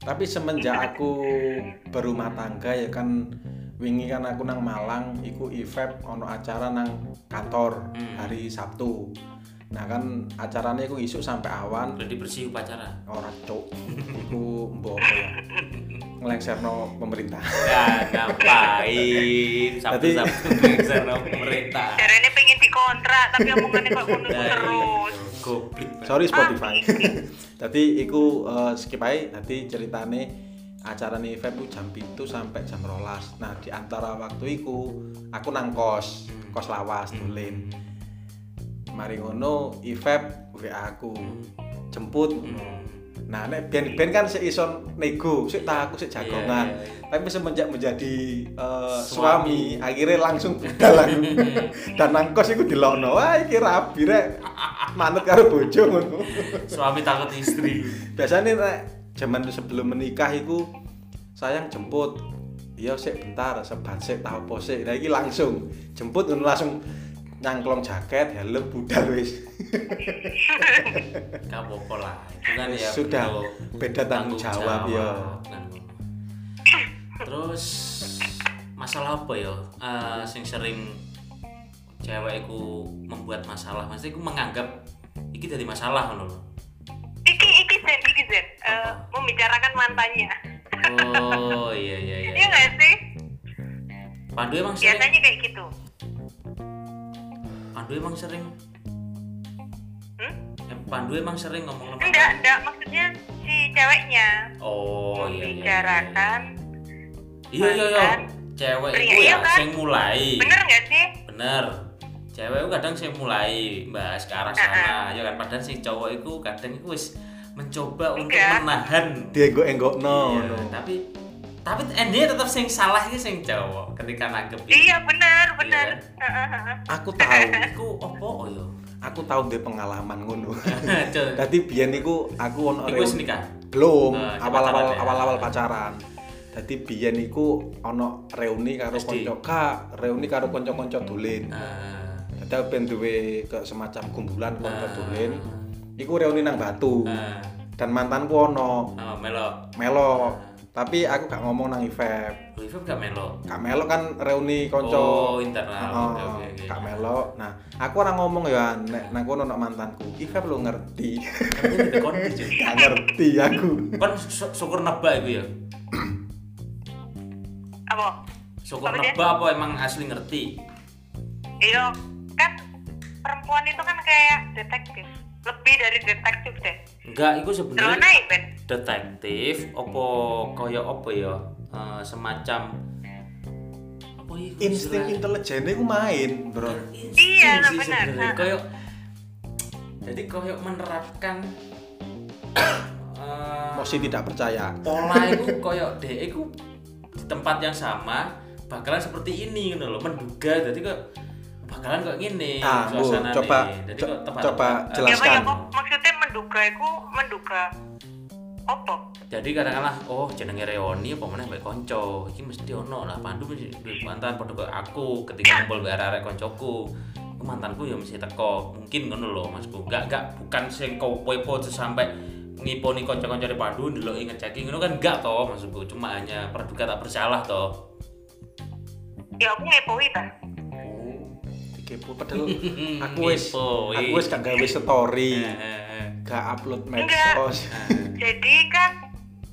[SPEAKER 1] Tapi semenjak aku berumah tangga ya kan wingi kan aku nang Malang iku evap ono acara nang kantor
[SPEAKER 2] Hmm.
[SPEAKER 1] hari Sabtu nah kan acaranya iku isuk sampai awan
[SPEAKER 2] Udah dibersih upacara.
[SPEAKER 1] ora cuk iku mbok apa ya ngelengserno pemerintah
[SPEAKER 2] Ya ngapain Sabtu-sabtu bisa pemerintah.
[SPEAKER 3] Caranya pengen dikontrak
[SPEAKER 2] <laughs>
[SPEAKER 3] tapi omongannya kok ngono
[SPEAKER 2] Nah,
[SPEAKER 3] terus.
[SPEAKER 2] iya. Goblok. Pak.
[SPEAKER 1] sorry Spotify <laughs> tadi iku eh, skip aja tadi ceritane acara nih Feb ku jam itu sampai jam rolas nah di antara waktu iku aku nang kos
[SPEAKER 2] Hmm.
[SPEAKER 1] kos lawas tulen mari ngono Ifeb WA aku
[SPEAKER 2] Hmm.
[SPEAKER 1] jemput nah nek ben ben kan sik iso nego sik tak aku sik jagongan
[SPEAKER 2] Iya, iya.
[SPEAKER 1] tapi semenjak menjadi eh, suami,
[SPEAKER 2] Suami. Hmm.
[SPEAKER 1] akhirnya langsung budal aku. dan nangkos itu dilono wah iki rabi rek manut karo bojo ngono
[SPEAKER 2] <laughs> Suami takut istri.
[SPEAKER 1] biasanya rek zaman sebelum menikah itu sayang jemput iya sik bentar seban sik tak apa sik nah iki langsung jemput ngono langsung nyangklong jaket helm budal wis
[SPEAKER 2] Gak apa-apa lah. Itu kan ya
[SPEAKER 1] Sudah.
[SPEAKER 2] bentuk
[SPEAKER 1] Beda tanggung jawab, ya.
[SPEAKER 2] kan. Terus masalah apa ya? Eh, sing sering cewekku membuat masalah, maksudnya aku menganggap iki jadi masalah ngono lho.
[SPEAKER 3] Iki iki Zen, iki Zen. Eh,
[SPEAKER 2] Apa?
[SPEAKER 3] membicarakan mantannya.
[SPEAKER 2] Oh iya iya iya.
[SPEAKER 3] Iya nggak sih?
[SPEAKER 2] Pandu emang sering.
[SPEAKER 3] Biasanya kayak gitu.
[SPEAKER 2] Pandu emang sering.
[SPEAKER 3] Hmm?
[SPEAKER 2] Em, Pandu emang sering ngomong lemah.
[SPEAKER 3] Enggak, enggak maksudnya si ceweknya
[SPEAKER 2] Oh iya iya. iya,
[SPEAKER 3] membicarakan.
[SPEAKER 2] Iya iya iya.
[SPEAKER 3] mantan.
[SPEAKER 2] Cewek
[SPEAKER 3] Pria,
[SPEAKER 2] itu ya
[SPEAKER 3] iya kan?
[SPEAKER 2] sing mulai.
[SPEAKER 3] Bener nggak sih?
[SPEAKER 2] Bener. Cewek itu kadang sing mulai bahas ke arah sana. Ya kan padahal si cowok itu kadang itu wis mencoba untuk
[SPEAKER 3] Enggak.
[SPEAKER 2] menahan.
[SPEAKER 1] dienggok-enggokno
[SPEAKER 2] Iya,
[SPEAKER 1] ngono
[SPEAKER 2] tapi tapi endingnya tetap sing salah iki sing cowok ketika nangkep
[SPEAKER 3] Iya bener, bener.
[SPEAKER 2] kan?
[SPEAKER 1] aku tahu
[SPEAKER 2] Iku opo yo?
[SPEAKER 1] aku tahu dia pengalaman ngono
[SPEAKER 2] <laughs> Cuk.
[SPEAKER 1] Dadi biyen niku aku ono
[SPEAKER 2] Eh. Iku wis
[SPEAKER 1] reuni-
[SPEAKER 2] nikah.
[SPEAKER 1] belum
[SPEAKER 2] Nah,
[SPEAKER 1] awal-awal
[SPEAKER 2] pacaran ya.
[SPEAKER 1] awal-awal pacaran. Dadi biyen niku ono reuni karo
[SPEAKER 2] SD.
[SPEAKER 1] kanca Kak, reuni karo kanca-kanca dolen.
[SPEAKER 2] Ah.
[SPEAKER 1] Dadi aku ben duwe ke semacam kumpulan kanca
[SPEAKER 2] Ah.
[SPEAKER 1] dolen. Iku reuni nang Batu.
[SPEAKER 2] Ah.
[SPEAKER 1] Dan mantanku ono
[SPEAKER 2] Ah, melo.
[SPEAKER 1] Melo. Tapi aku gak ngomong nang Ivep.
[SPEAKER 2] Lu Ivan Eh, gak melo.
[SPEAKER 1] Kak Melo kan reuni kanca
[SPEAKER 2] Oh,
[SPEAKER 1] Oh,
[SPEAKER 2] internal. Oke, oke, oke.
[SPEAKER 1] Kak Melo. Nah, aku orang ngomong ya, nek nang kono ono mantanku. Ivep lo ngerti. <laughs>
[SPEAKER 2] Tapi Kan di kon iki, cuy.
[SPEAKER 1] Gak ngerti aku.
[SPEAKER 2] Kon su- syukur nebak iku ya.
[SPEAKER 3] Apa?
[SPEAKER 2] Syukur
[SPEAKER 3] Apa dia?
[SPEAKER 2] nebak apa emang asli ngerti?
[SPEAKER 3] Iya, kan perempuan itu kan kayak detektif. Lebih dari detektif deh.
[SPEAKER 2] Enggak, iku
[SPEAKER 1] Iya.
[SPEAKER 3] Terus
[SPEAKER 2] sebenarnya
[SPEAKER 3] naik, Ben.
[SPEAKER 2] detektif apa kaya apa ya? Eh, semacam apa iku
[SPEAKER 1] insting
[SPEAKER 2] istilahnya?
[SPEAKER 1] intelijennya ku main bro
[SPEAKER 2] Insting
[SPEAKER 3] Iya,
[SPEAKER 2] sih
[SPEAKER 3] benar.
[SPEAKER 2] sebenarnya.
[SPEAKER 3] Ah.
[SPEAKER 2] Kayak jadi kayak menerapkan eh,
[SPEAKER 1] masih tidak percaya
[SPEAKER 2] pola itu koyok deh itu di tempat yang sama bakalan seperti ini gitu loh menduga jadi kok bakalan kok gini
[SPEAKER 1] Ah, Bu, coba-
[SPEAKER 2] jadi
[SPEAKER 1] co-
[SPEAKER 2] kok tempat eh,
[SPEAKER 1] coba
[SPEAKER 3] Ya,
[SPEAKER 1] jelaskan.
[SPEAKER 3] apa ya, kok maksudnya menduga itu menduga apa?
[SPEAKER 2] jadi kadang-kadang oh jenenge Reoni apa meneh mbek konco iki mesti ono lah pandu mesti duwe mantan padha kok aku ketika ngumpul mbek arek-arek koncoku "Ku mantanku ya mesti teko mungkin ngono lho Masku enggak enggak bukan sing kowe po sampai ngiponi kanca-kancane pandu ndeloki ngeceki ngono kan enggak toh maksudku cuma hanya praduga tak bersalah toh
[SPEAKER 3] Ya aku ngepoi ta.
[SPEAKER 2] <laughs>
[SPEAKER 1] dikepo padahal Oh. aku wis
[SPEAKER 2] Kepo,
[SPEAKER 1] aku
[SPEAKER 2] iya.
[SPEAKER 1] wis gak gawe story
[SPEAKER 2] Eh, eh, eh.
[SPEAKER 1] gak upload
[SPEAKER 3] Enggak.
[SPEAKER 1] medsos
[SPEAKER 3] Jadi kan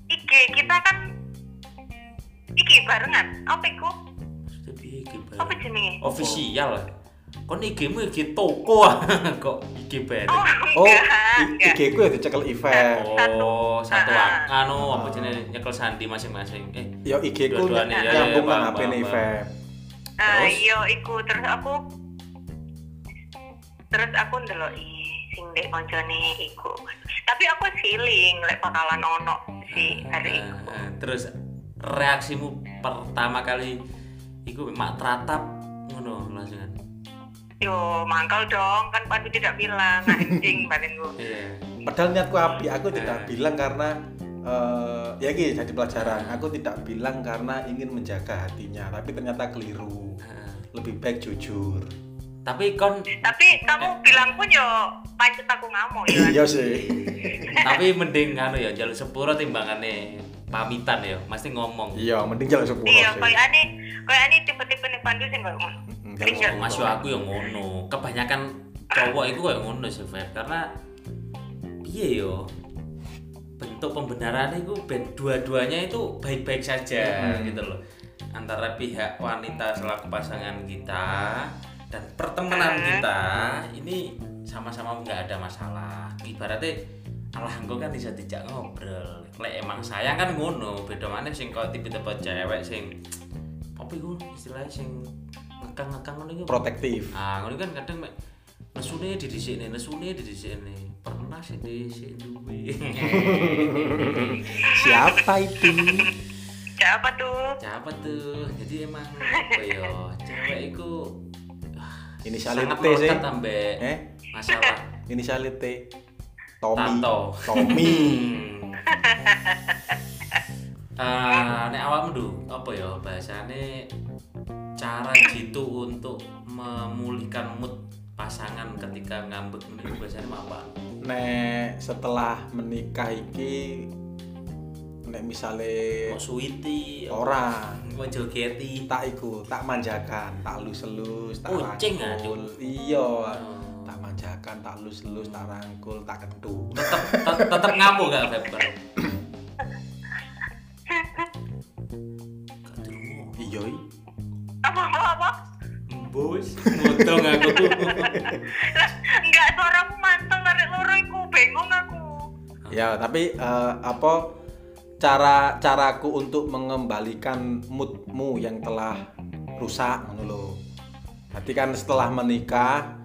[SPEAKER 3] IG kita kan iki barengan. Apa iku?
[SPEAKER 2] Maksudnya piye iki, Bang?
[SPEAKER 3] Apa
[SPEAKER 1] Oh,
[SPEAKER 3] jenenge?
[SPEAKER 2] official kon IG-mu IG ya toko <laughs> ah. kok IG bareng
[SPEAKER 3] Oh,
[SPEAKER 1] oh
[SPEAKER 3] enggak,
[SPEAKER 1] i-
[SPEAKER 3] enggak.
[SPEAKER 1] IG ku ya dicekel event
[SPEAKER 2] Oh, satu
[SPEAKER 3] Ah,
[SPEAKER 2] ah. anu apa jenenge nyekel sandi masing-masing. Eh,
[SPEAKER 1] ya IG ku
[SPEAKER 2] Dua-duanya, ya, ya,
[SPEAKER 1] nyambung
[SPEAKER 2] paham,
[SPEAKER 1] nang HP
[SPEAKER 2] paham,
[SPEAKER 1] nih
[SPEAKER 2] paham.
[SPEAKER 1] event
[SPEAKER 3] Ah,
[SPEAKER 2] Terus?
[SPEAKER 3] iya iku terus aku terus aku ndeloki sing dek koncone iku. Tapi aku feeling lek bakalan ono si
[SPEAKER 1] Ah.
[SPEAKER 2] eh,
[SPEAKER 3] hari iku.
[SPEAKER 2] eh, terus reaksimu pertama kali iku mak teratap ngono langsung. kan.
[SPEAKER 3] Yo mangkal dong kan Pandu tidak bilang
[SPEAKER 1] <laughs>
[SPEAKER 3] anjing badanku.
[SPEAKER 2] Iya.
[SPEAKER 1] padahal niatku api aku tidak
[SPEAKER 2] Eh.
[SPEAKER 1] bilang karena eh, ya ki jadi pelajaran aku tidak bilang karena ingin menjaga hatinya tapi ternyata keliru
[SPEAKER 2] Eh,
[SPEAKER 1] lebih baik jujur
[SPEAKER 2] Tapi kon
[SPEAKER 3] Tapi kamu bilang pun yo pancet aku ngamuk ya.
[SPEAKER 1] iya sih
[SPEAKER 2] tapi mending anu ya jalur sepuro timbangane pamitan ya mesti ngomong
[SPEAKER 1] Iya, mending jalan sepuluh
[SPEAKER 3] iya kayak ane kayak ane tipe-tipe nih pandu sih kayak ngono Iya.
[SPEAKER 2] Oh, masuk aku yang ngono kebanyakan cowok itu kayak ngono sih Fer karena piye yo bentuk pembenaran itu ben dua-duanya itu baik-baik saja
[SPEAKER 1] Hmm.
[SPEAKER 2] gitu loh antara pihak wanita selaku pasangan kita dan pertemanan
[SPEAKER 3] Hmm.
[SPEAKER 2] kita ini sama-sama nggak ada masalah ibaratnya alah engko kan bisa dijak ngobrol lek emang sayang kan ngono beda mana sing kok tipe-tipe cewek sing apa iku istilahnya sing ngekang-ngekang ngono iku
[SPEAKER 1] protektif.
[SPEAKER 2] Ah, ngono kan kadang mek nesune didhisikne, nesune didhisikne. Pernah sih dhisik duwe. <laughs>
[SPEAKER 1] Siapa itu?
[SPEAKER 3] siapa tuh
[SPEAKER 2] Siapa tuh? Jadi emang apa ya? Cewek iku ah,
[SPEAKER 1] Inisialnya
[SPEAKER 2] sangat
[SPEAKER 1] T sih.
[SPEAKER 2] melekat ambek
[SPEAKER 1] eh,
[SPEAKER 2] masalah
[SPEAKER 1] inisialnya T. Tommy.
[SPEAKER 2] Tato.
[SPEAKER 1] Tommy.
[SPEAKER 2] <laughs> Hmm. Ah, nek awakmu ndu, apa ya bahasane cara jitu untuk memulihkan mood pasangan ketika ngambek niku biasanya apa?
[SPEAKER 1] nek setelah menikah iki nek misale
[SPEAKER 2] Kok suwiti? apa?
[SPEAKER 1] ora
[SPEAKER 2] Kok jogeti?
[SPEAKER 1] tak iku tak manjakan tak lus-lus tak
[SPEAKER 2] Kucing,
[SPEAKER 1] rangkul iya
[SPEAKER 2] Oh.
[SPEAKER 1] tak manjakan tak lus-lus tak rangkul tak kentu
[SPEAKER 2] tetap tetap ngamuk gak Faber?
[SPEAKER 1] iya i.
[SPEAKER 3] apa apa apa
[SPEAKER 2] Bos, motong aku tuh.
[SPEAKER 3] lah enggak suaramu mantul narik loro iku bengong aku
[SPEAKER 1] ya tapi eh, apa cara caraku untuk mengembalikan moodmu yang telah rusak ngono lho. Berarti kan setelah menikah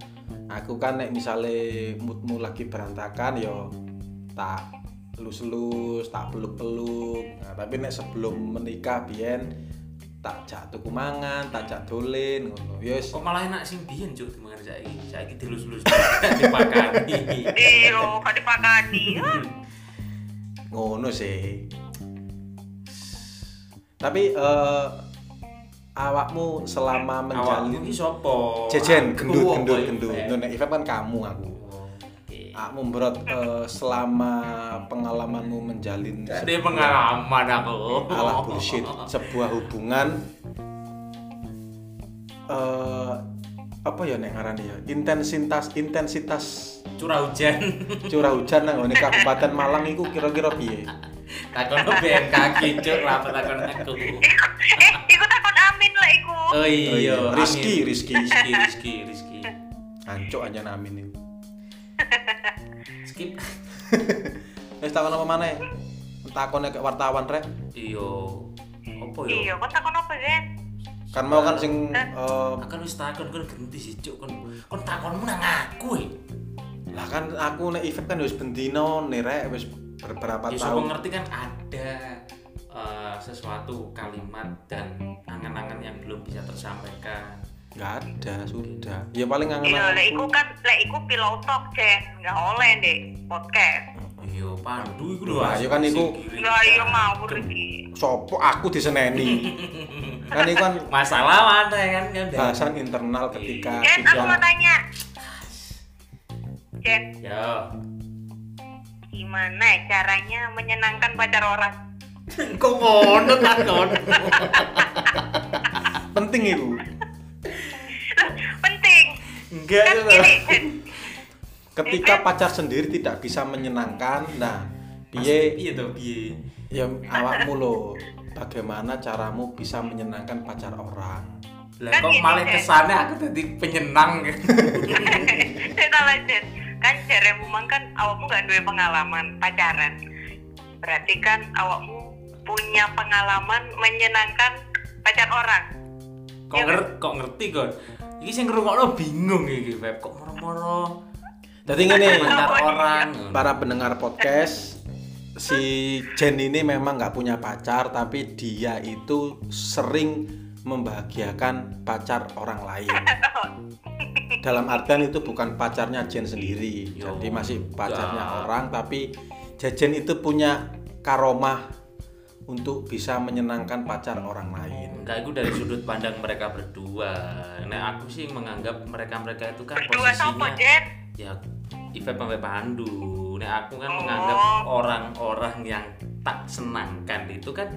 [SPEAKER 1] aku kan nek misale moodmu lagi berantakan yo tak lus-lus, tak peluk-peluk. Nah, tapi nek sebelum menikah biyen tak jak tuku mangan, tak jak dolen ngono. Ya Yes.
[SPEAKER 2] Kok malah enak sing biyen cuk dimangan saiki. Saiki dilus-lus dipakani.
[SPEAKER 1] <laughs>
[SPEAKER 3] iyo kau dipakani Ah,
[SPEAKER 1] ngono sih tapi eh, awakmu selama
[SPEAKER 2] Awakmu
[SPEAKER 1] menjalin
[SPEAKER 2] iki sapa?
[SPEAKER 1] jejen
[SPEAKER 2] Aku
[SPEAKER 1] gendut
[SPEAKER 2] apa
[SPEAKER 1] gendut
[SPEAKER 2] iki,
[SPEAKER 1] gendut
[SPEAKER 2] Fer?
[SPEAKER 1] Nek Ivan kan kamu aku
[SPEAKER 2] Oke.
[SPEAKER 1] Aku memberat selama pengalamanmu menjalin
[SPEAKER 2] Gak Ada
[SPEAKER 1] sebuah
[SPEAKER 2] pengalaman aku.
[SPEAKER 1] alah bullshit sebuah hubungan eh apa ya nek ngarani ya intensitas intensitas
[SPEAKER 2] Curah hujan. <laughs>
[SPEAKER 1] curah hujan nang ngone Kabupaten Malang itu kira-kira piye
[SPEAKER 2] Takon BMKG cuk, rapat takon aku.
[SPEAKER 3] iku- <laughs> eh iku takut amin lah iku
[SPEAKER 2] Oh iya,
[SPEAKER 1] Oh iya, Rizky,
[SPEAKER 2] amin.
[SPEAKER 1] Rizky.
[SPEAKER 2] Rizky, Rizky, Rizky.
[SPEAKER 1] ancok aja namin itu
[SPEAKER 2] Skip.
[SPEAKER 1] Wis Eh, takon apa maneh? Takone ke wartawan rek.
[SPEAKER 2] Iya. Apa ya?
[SPEAKER 3] iyo kau takut Iya, apa Zen
[SPEAKER 1] Kan mau kan sing eh,
[SPEAKER 2] Akan wis takon kon ganti sih cuk kon kon takonmu nang aku e.
[SPEAKER 1] lah kan aku nek event kan wis bendino nih rek wis beberapa
[SPEAKER 2] Ya sapa
[SPEAKER 1] tahun.
[SPEAKER 2] ngerti kan ada eh, sesuatu kalimat dan angan-angan yang belum bisa tersampaikan.
[SPEAKER 1] Enggak ada, sudah. Ya paling
[SPEAKER 3] iyo lah
[SPEAKER 1] angen-angen.
[SPEAKER 3] iku kan lah iku pillow talk Zen nggak oleh deh podcast
[SPEAKER 2] Iya, pandu iku lho. iya,
[SPEAKER 1] Lah,
[SPEAKER 2] asik
[SPEAKER 1] ya kan iku-
[SPEAKER 2] sendiri.
[SPEAKER 3] lah iyo ngawur iki
[SPEAKER 1] Sopo aku diseneni. kan itu kan
[SPEAKER 2] Masalah mana ya kan kan Dan?
[SPEAKER 1] bahasan internal ketika
[SPEAKER 3] Jen, Eh, aku mau
[SPEAKER 1] sudah
[SPEAKER 3] tanya. Jen,
[SPEAKER 2] Yo.
[SPEAKER 3] gimana caranya menyenangkan pacar orang?
[SPEAKER 2] <laughs> Kok ngono takon?
[SPEAKER 1] penting itu.
[SPEAKER 3] Loh, penting.
[SPEAKER 2] Enggak
[SPEAKER 3] Kan
[SPEAKER 2] ya.
[SPEAKER 3] gini, Eh, Jen. <laughs>
[SPEAKER 1] Ketika pacar sendiri tidak bisa menyenangkan, nah piye
[SPEAKER 2] Piye to Iya, piye?
[SPEAKER 1] ya awakmu lo bagaimana caramu bisa menyenangkan pacar orang?
[SPEAKER 2] Lah
[SPEAKER 3] Kan
[SPEAKER 2] kok
[SPEAKER 3] gini,
[SPEAKER 2] malah
[SPEAKER 3] Jen.
[SPEAKER 2] kesannya aku jadi penyenang ya.
[SPEAKER 3] Saya tahu, Jen. Kan jaremu mang kan awakmu gak duwe pengalaman pacaran. Berarti kan awakmu punya pengalaman menyenangkan pacar orang.
[SPEAKER 2] kok
[SPEAKER 3] Iya kan?
[SPEAKER 2] ngerti kok ngerti kon iki sing ngrungokno bingung iki Feb kok moro-moro
[SPEAKER 1] Jadi ngene,
[SPEAKER 2] komentar
[SPEAKER 3] Apa
[SPEAKER 2] orang
[SPEAKER 1] para pendengar podcast si Jen ini memang nggak punya pacar tapi dia itu sering membahagiakan pacar orang lain dalam artian itu bukan pacarnya Jen sendiri
[SPEAKER 2] Yo,
[SPEAKER 1] jadi masih pacarnya
[SPEAKER 2] enggak.
[SPEAKER 1] orang tapi Jajen itu punya karomah untuk bisa menyenangkan pacar orang lain
[SPEAKER 2] enggak itu dari sudut pandang mereka berdua nah aku sih menganggap mereka-mereka itu kan
[SPEAKER 3] Berdua sopo,
[SPEAKER 2] posisinya
[SPEAKER 3] Jen?
[SPEAKER 2] ya Ife sampai Pandu nah aku kan
[SPEAKER 3] Oh.
[SPEAKER 2] menganggap orang-orang yang tak senangkan itu kan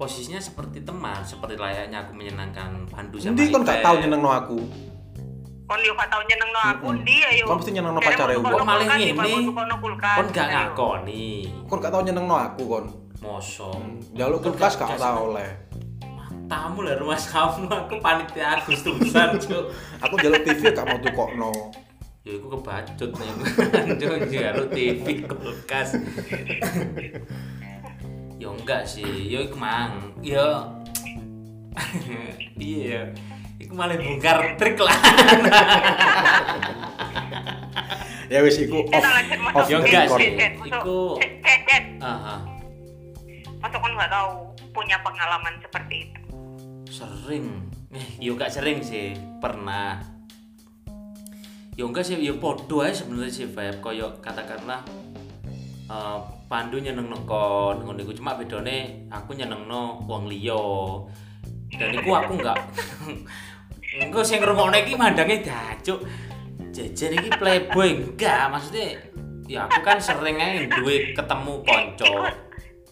[SPEAKER 2] posisinya seperti teman seperti layaknya aku menyenangkan Pandu sama
[SPEAKER 1] Nanti kon gak
[SPEAKER 2] Ipe.
[SPEAKER 1] tau nyeneng aku.
[SPEAKER 3] kon yo gak tau nyenengno aku
[SPEAKER 1] Mm-mm.
[SPEAKER 3] ndi ya ayo
[SPEAKER 1] Kon mesti nyenengno
[SPEAKER 3] Kayaknya
[SPEAKER 1] pacare
[SPEAKER 3] mau
[SPEAKER 1] uang.
[SPEAKER 2] Kok malah
[SPEAKER 3] kulkas,
[SPEAKER 2] ngene?
[SPEAKER 3] dipakul tukono kulkas.
[SPEAKER 2] kon gak
[SPEAKER 3] Ayo.
[SPEAKER 2] ngakoni
[SPEAKER 1] Kon gak tau nyeneng aku kon.
[SPEAKER 2] moso
[SPEAKER 1] Hmm. Jaluk
[SPEAKER 2] Kon
[SPEAKER 1] kulkas
[SPEAKER 2] gak
[SPEAKER 1] gak
[SPEAKER 2] seneng.
[SPEAKER 1] tau oleh.
[SPEAKER 2] tamu lah rumah kamu aku panitia Agustusan cuk
[SPEAKER 1] Aku jaluk TV gak mau tukokno.
[SPEAKER 2] ya aku kebacut nih cuk jero TV kulkas ya enggak sih ya iku mang ya iya iku malah bongkar trik lah
[SPEAKER 1] Ya wis iku
[SPEAKER 3] Eh,
[SPEAKER 1] off.
[SPEAKER 3] tak lanjut, masuk.
[SPEAKER 1] Off
[SPEAKER 2] yo
[SPEAKER 3] Eh,
[SPEAKER 2] enggak
[SPEAKER 1] record.
[SPEAKER 2] sih.
[SPEAKER 3] eh, eh, masuk.
[SPEAKER 2] Iku-
[SPEAKER 3] Eh, eh, eh.
[SPEAKER 2] Aha,
[SPEAKER 3] Masuk kon gak tahu punya pengalaman seperti itu.
[SPEAKER 2] sering eh yo gak sering sih pernah yo enggak sih yo podo aja sebenarnya sih Feb koyo katakanlah eh, Pandu nyeneng nekon ngono iku cuma bedone aku nyeneng no wong liya dan iku aku enggak <laughs> engko sing ngrungokne iki mandange dacuk jejer iki playboy enggak maksudnya ya aku kan sering aja duwe ketemu
[SPEAKER 3] Eh,
[SPEAKER 2] konco
[SPEAKER 3] iku-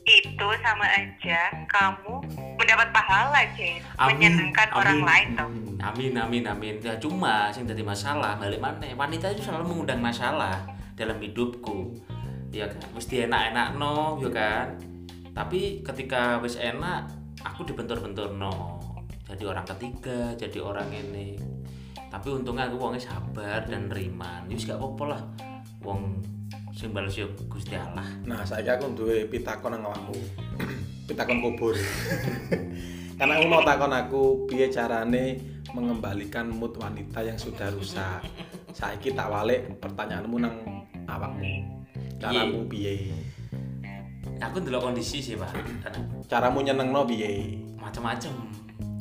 [SPEAKER 3] itu sama aja kamu mendapat pahala Jen
[SPEAKER 2] Amin,
[SPEAKER 3] menyenangkan
[SPEAKER 2] amin.
[SPEAKER 3] orang lain toh
[SPEAKER 1] Hmm.
[SPEAKER 2] Amin amin amin. Ya cuma sing dadi masalah balik mana? Wanita itu selalu mengundang masalah dalam hidupku. Ya kan, mesti enak-enak no, ya kan. Tapi ketika wis enak, aku dibentur-bentur no. Jadi orang ketiga, jadi orang ini. Tapi untungnya aku wongnya sabar dan nerima. Wis gak apa-apa lah. Wong sing balas yo Gusti Allah.
[SPEAKER 1] Nah, saiki aku duwe pitakon nang awakmu. <clears throat> pitakon kubur. <laughs> Karena aku mau takon aku piye carane mengembalikan mood wanita yang sudah rusak. Saiki tak walik pertanyaanmu nang awakmu. Caramu piye?
[SPEAKER 2] Aku ndelok kondisi sih, Pak. Karena
[SPEAKER 1] Caramu nyenengno piye?
[SPEAKER 2] macam-macam.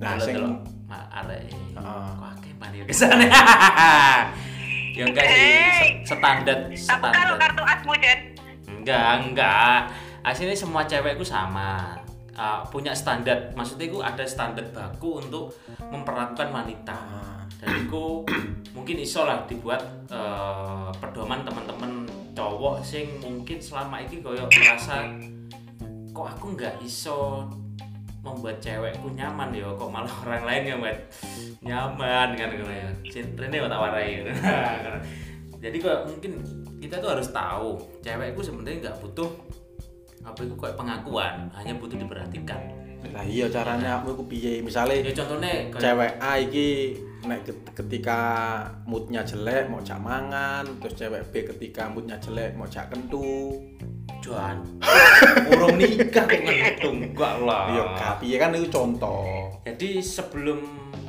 [SPEAKER 1] Nah,
[SPEAKER 2] Kalau
[SPEAKER 1] sing- Ah.
[SPEAKER 2] delok mak arek.
[SPEAKER 1] Heeh.
[SPEAKER 2] Kok akeh mari kesana. <laughs> ya enggak sih, se- standar
[SPEAKER 3] tapi kalau
[SPEAKER 2] standar.
[SPEAKER 3] kartu asmu Jen
[SPEAKER 2] Enggak, enggak. Aslinya semua cewekku sama. Uh, punya standar, maksudnya aku ada standar baku untuk memperlakukan wanita
[SPEAKER 1] Ah,
[SPEAKER 2] dan itu mungkin iso lah dibuat eh, pedoman teman-teman cowok sing mungkin selama ini koyo merasa kok aku nggak iso membuat cewekku nyaman ya kok malah orang lain yang buat nyaman kan gitu ya cintrene tak warai <laughs> gitu. jadi kok mungkin kita tuh harus tahu cewekku sebenarnya nggak butuh apa itu kayak pengakuan hanya butuh diperhatikan
[SPEAKER 1] Lah iya caranya aku iku piye? Misale
[SPEAKER 2] ya contohnya kayak
[SPEAKER 1] cewek A iki nek ket- ketika moodnya jelek mau jak mangan, terus cewek B ketika moodnya jelek mau jak kentu.
[SPEAKER 2] Juan urung nikah kok ngetung gak lah
[SPEAKER 1] Ya gak piye kan itu contoh.
[SPEAKER 2] jadi sebelum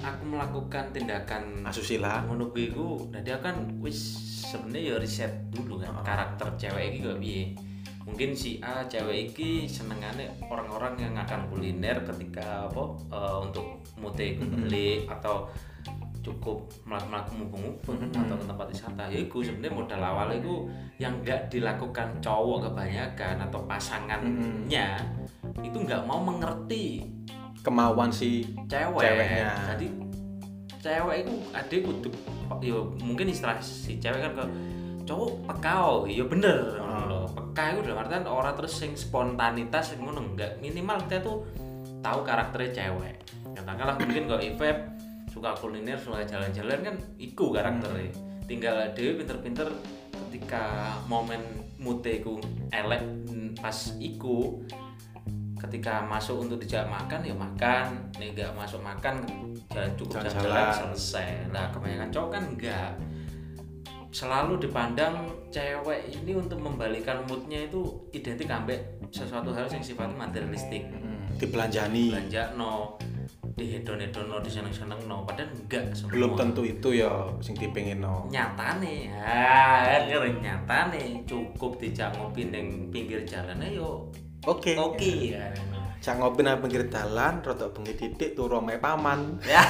[SPEAKER 2] aku melakukan
[SPEAKER 1] Ah.
[SPEAKER 2] tindakan
[SPEAKER 1] Nah, Asusila.
[SPEAKER 2] ngono kuwi ku nanti akan nah kan, wis sebenarnya ya riset dulu kan
[SPEAKER 1] Heeh.
[SPEAKER 2] karakter cewek iki kok piye mungkin si A cewek iki senengane orang-orang yang akan kuliner ketika apa eh, untuk mute iku
[SPEAKER 1] Mhm.
[SPEAKER 2] beli atau cukup melakukan mubeng-mubeng
[SPEAKER 1] Mhm.
[SPEAKER 2] atau ke tempat wisata ya iku sebenarnya modal awal itu yang nggak dilakukan cowok kebanyakan atau pasangannya itu nggak mau mengerti
[SPEAKER 1] kemauan si
[SPEAKER 2] cewek
[SPEAKER 1] Ceweknya.
[SPEAKER 2] jadi cewek itu ada kudu ya mungkin istilah si cewek kan kalau cowok pekao ya bener
[SPEAKER 1] Ah.
[SPEAKER 2] loh peka itu dalam artian orang terus sing spontanitas yang ngono enggak minimal kita tuh tahu karakternya cewek katakanlah mungkin kalau Ivep suka kuliner suka jalan-jalan kan iku karakternya tinggal dewe pinter-pinter ketika momen muteku elek mm, pas iku ketika masuk untuk dijak makan ya makan nih nggak masuk makan jalan cukup jalan-jalan
[SPEAKER 1] Jalan-jalan.
[SPEAKER 2] selesai lah kebanyakan cowok kan enggak selalu dipandang cewek ini untuk membalikan moodnya itu identik ambek sesuatu hal yang sifatnya materialistik
[SPEAKER 1] mm, dibelanjani
[SPEAKER 2] belanja no dihedon hedon no diseneng seneng no padahal enggak semua
[SPEAKER 1] belum tentu itu ya sing dipengin no
[SPEAKER 2] nyatane
[SPEAKER 1] Iya.
[SPEAKER 2] ya keren nyatane cukup dijak ngopi neng pinggir jalan ayo
[SPEAKER 1] oke
[SPEAKER 2] oke
[SPEAKER 1] okay.
[SPEAKER 2] ya
[SPEAKER 1] cak ngopi nang pinggir dalan rodok bengi titik turu omahe paman
[SPEAKER 2] Ya,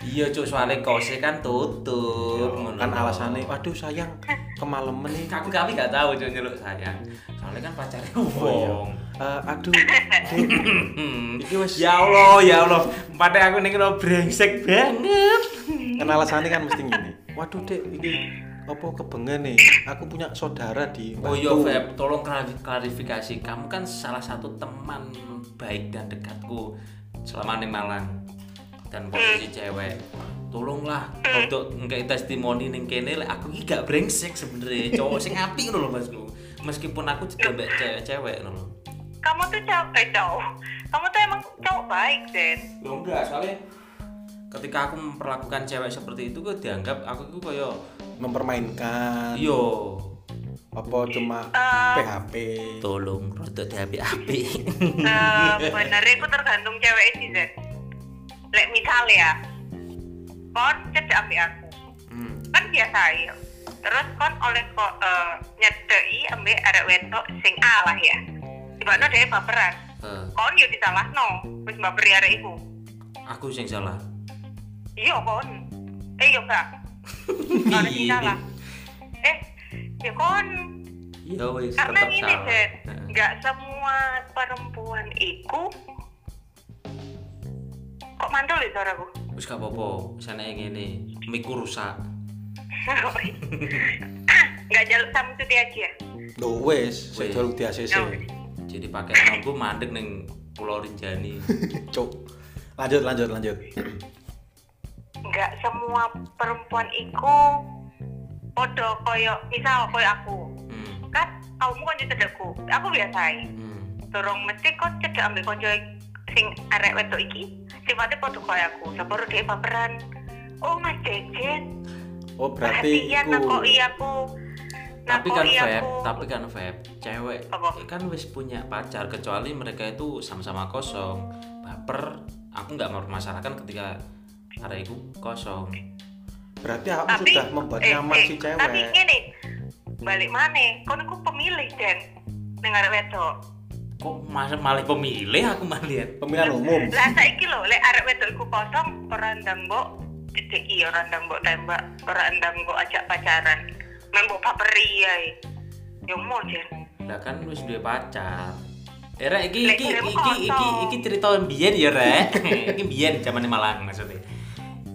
[SPEAKER 2] iya cuk soalnya kose kan tutup. ngono.
[SPEAKER 1] kan alasannya waduh sayang kemaleman nih
[SPEAKER 2] aku kami gak tahu cuk nyeluk sayang. Soalnya kan pacarnya
[SPEAKER 1] Oh, iya.
[SPEAKER 2] wong.
[SPEAKER 1] Eh, aduh
[SPEAKER 2] <laughs>
[SPEAKER 1] Dek,
[SPEAKER 2] Hmm.
[SPEAKER 1] iki wis
[SPEAKER 2] Ya Allah, ya Allah. Padahal aku ning kena brengsek banget.
[SPEAKER 1] kan alasannya kan mesti gini waduh dek iki apa kebengen nih aku punya saudara di
[SPEAKER 2] Oh iya
[SPEAKER 1] Batu.
[SPEAKER 2] Feb, tolong klari- klarifikasi. Kamu kan salah satu teman baik dan dekatku selama di Malang dan posisi cewek. Tolonglah untuk nggak testimoni ning kene lek aku iki gak brengsek sebenarnya. Cowok sing apik ngono lho Masku. Meskipun aku juga mbek cewek-cewek ngono lho.
[SPEAKER 3] Kamu tuh cowok, eh cowok. Kamu tuh emang cowok baik, Den.
[SPEAKER 2] Yo enggak, soalnya ketika aku memperlakukan cewek seperti itu kok dianggap aku itu koyo "Iya."
[SPEAKER 1] mempermainkan
[SPEAKER 2] yo
[SPEAKER 1] apa cuma
[SPEAKER 3] Eh.
[SPEAKER 1] PHP
[SPEAKER 2] tolong rodok diapik-apik.
[SPEAKER 3] Sebenarnya Eh, aku tergantung cewek sih, Den. Lek misalnya ya, kon cedek api aku.
[SPEAKER 2] hmm.
[SPEAKER 3] Kan biasa ya. Terus kon oleh kok eh, nyedeki ambek arek wedok sing alah ya. Tiba-tiba dia baperan.
[SPEAKER 2] Eh,
[SPEAKER 3] Kon yo disalahno, wis baperi arek iku.
[SPEAKER 2] aku sing salah.
[SPEAKER 3] Iya kon. Eh yo gak. Kon sing
[SPEAKER 2] <laughs>
[SPEAKER 3] salah. Eh, ya kon
[SPEAKER 2] Iya wis
[SPEAKER 3] karena
[SPEAKER 2] tetep
[SPEAKER 3] ini
[SPEAKER 2] salah.
[SPEAKER 3] Jen
[SPEAKER 2] Heeh.
[SPEAKER 3] nggak semua perempuan itu kok mantul ya suaraku
[SPEAKER 2] Wis gak apa-apa, sanake ngene. Miku rusak.
[SPEAKER 3] nggak jaluk sama cuti aja ya
[SPEAKER 1] Loh wes
[SPEAKER 2] Wes.
[SPEAKER 1] sedol di ACC
[SPEAKER 3] Yo.
[SPEAKER 2] Jadi pakai nongku mandek ning Pulau Rinjani.
[SPEAKER 1] cuk lanjut lanjut lanjut
[SPEAKER 3] nggak semua perempuan itu podo koyo misal koyo aku
[SPEAKER 2] hmm.
[SPEAKER 3] kan kamu kan cedekku aku biasai
[SPEAKER 2] Hmm.
[SPEAKER 3] dorong mesti kok cedek ambil konco sing arek wedok iki sifatnya podo koyo aku sepuru dia baperan oh mas Jejen
[SPEAKER 1] oh berarti
[SPEAKER 3] perhatian
[SPEAKER 1] iku
[SPEAKER 3] nakoi aku
[SPEAKER 2] Tapi kan
[SPEAKER 3] nakoi
[SPEAKER 2] Feb,
[SPEAKER 3] Nah, aku.
[SPEAKER 2] tapi kan Feb, cewek
[SPEAKER 3] Apa?
[SPEAKER 2] kan wis punya pacar kecuali mereka itu sama-sama kosong. Baper, aku nggak mempermasalahkan ketika arek iku kosong.
[SPEAKER 1] berarti aku
[SPEAKER 3] tapi eh,
[SPEAKER 1] sudah membuat nyaman si cewek
[SPEAKER 3] tapi ngene balik mana kon aku pemilih dan dengar wedok
[SPEAKER 2] Kok masa malah pemilih aku malian?
[SPEAKER 1] pemilihan Kan umum
[SPEAKER 3] lah saiki lho lek arek wedok iku kosong ora ndang mbok cedeki ora ndang mbok tembak ora ndang mbok ajak pacaran membok paperi ae Ya yo mau jen
[SPEAKER 2] Lah kan wis duwe pacar. Eh Rek, iki
[SPEAKER 3] Lek,
[SPEAKER 2] iki
[SPEAKER 3] kiramu
[SPEAKER 2] iki iki
[SPEAKER 3] kosong.
[SPEAKER 2] iki cerita mbiyen ya Rek. <laughs> iki mbiyen zaman Malang maksudnya.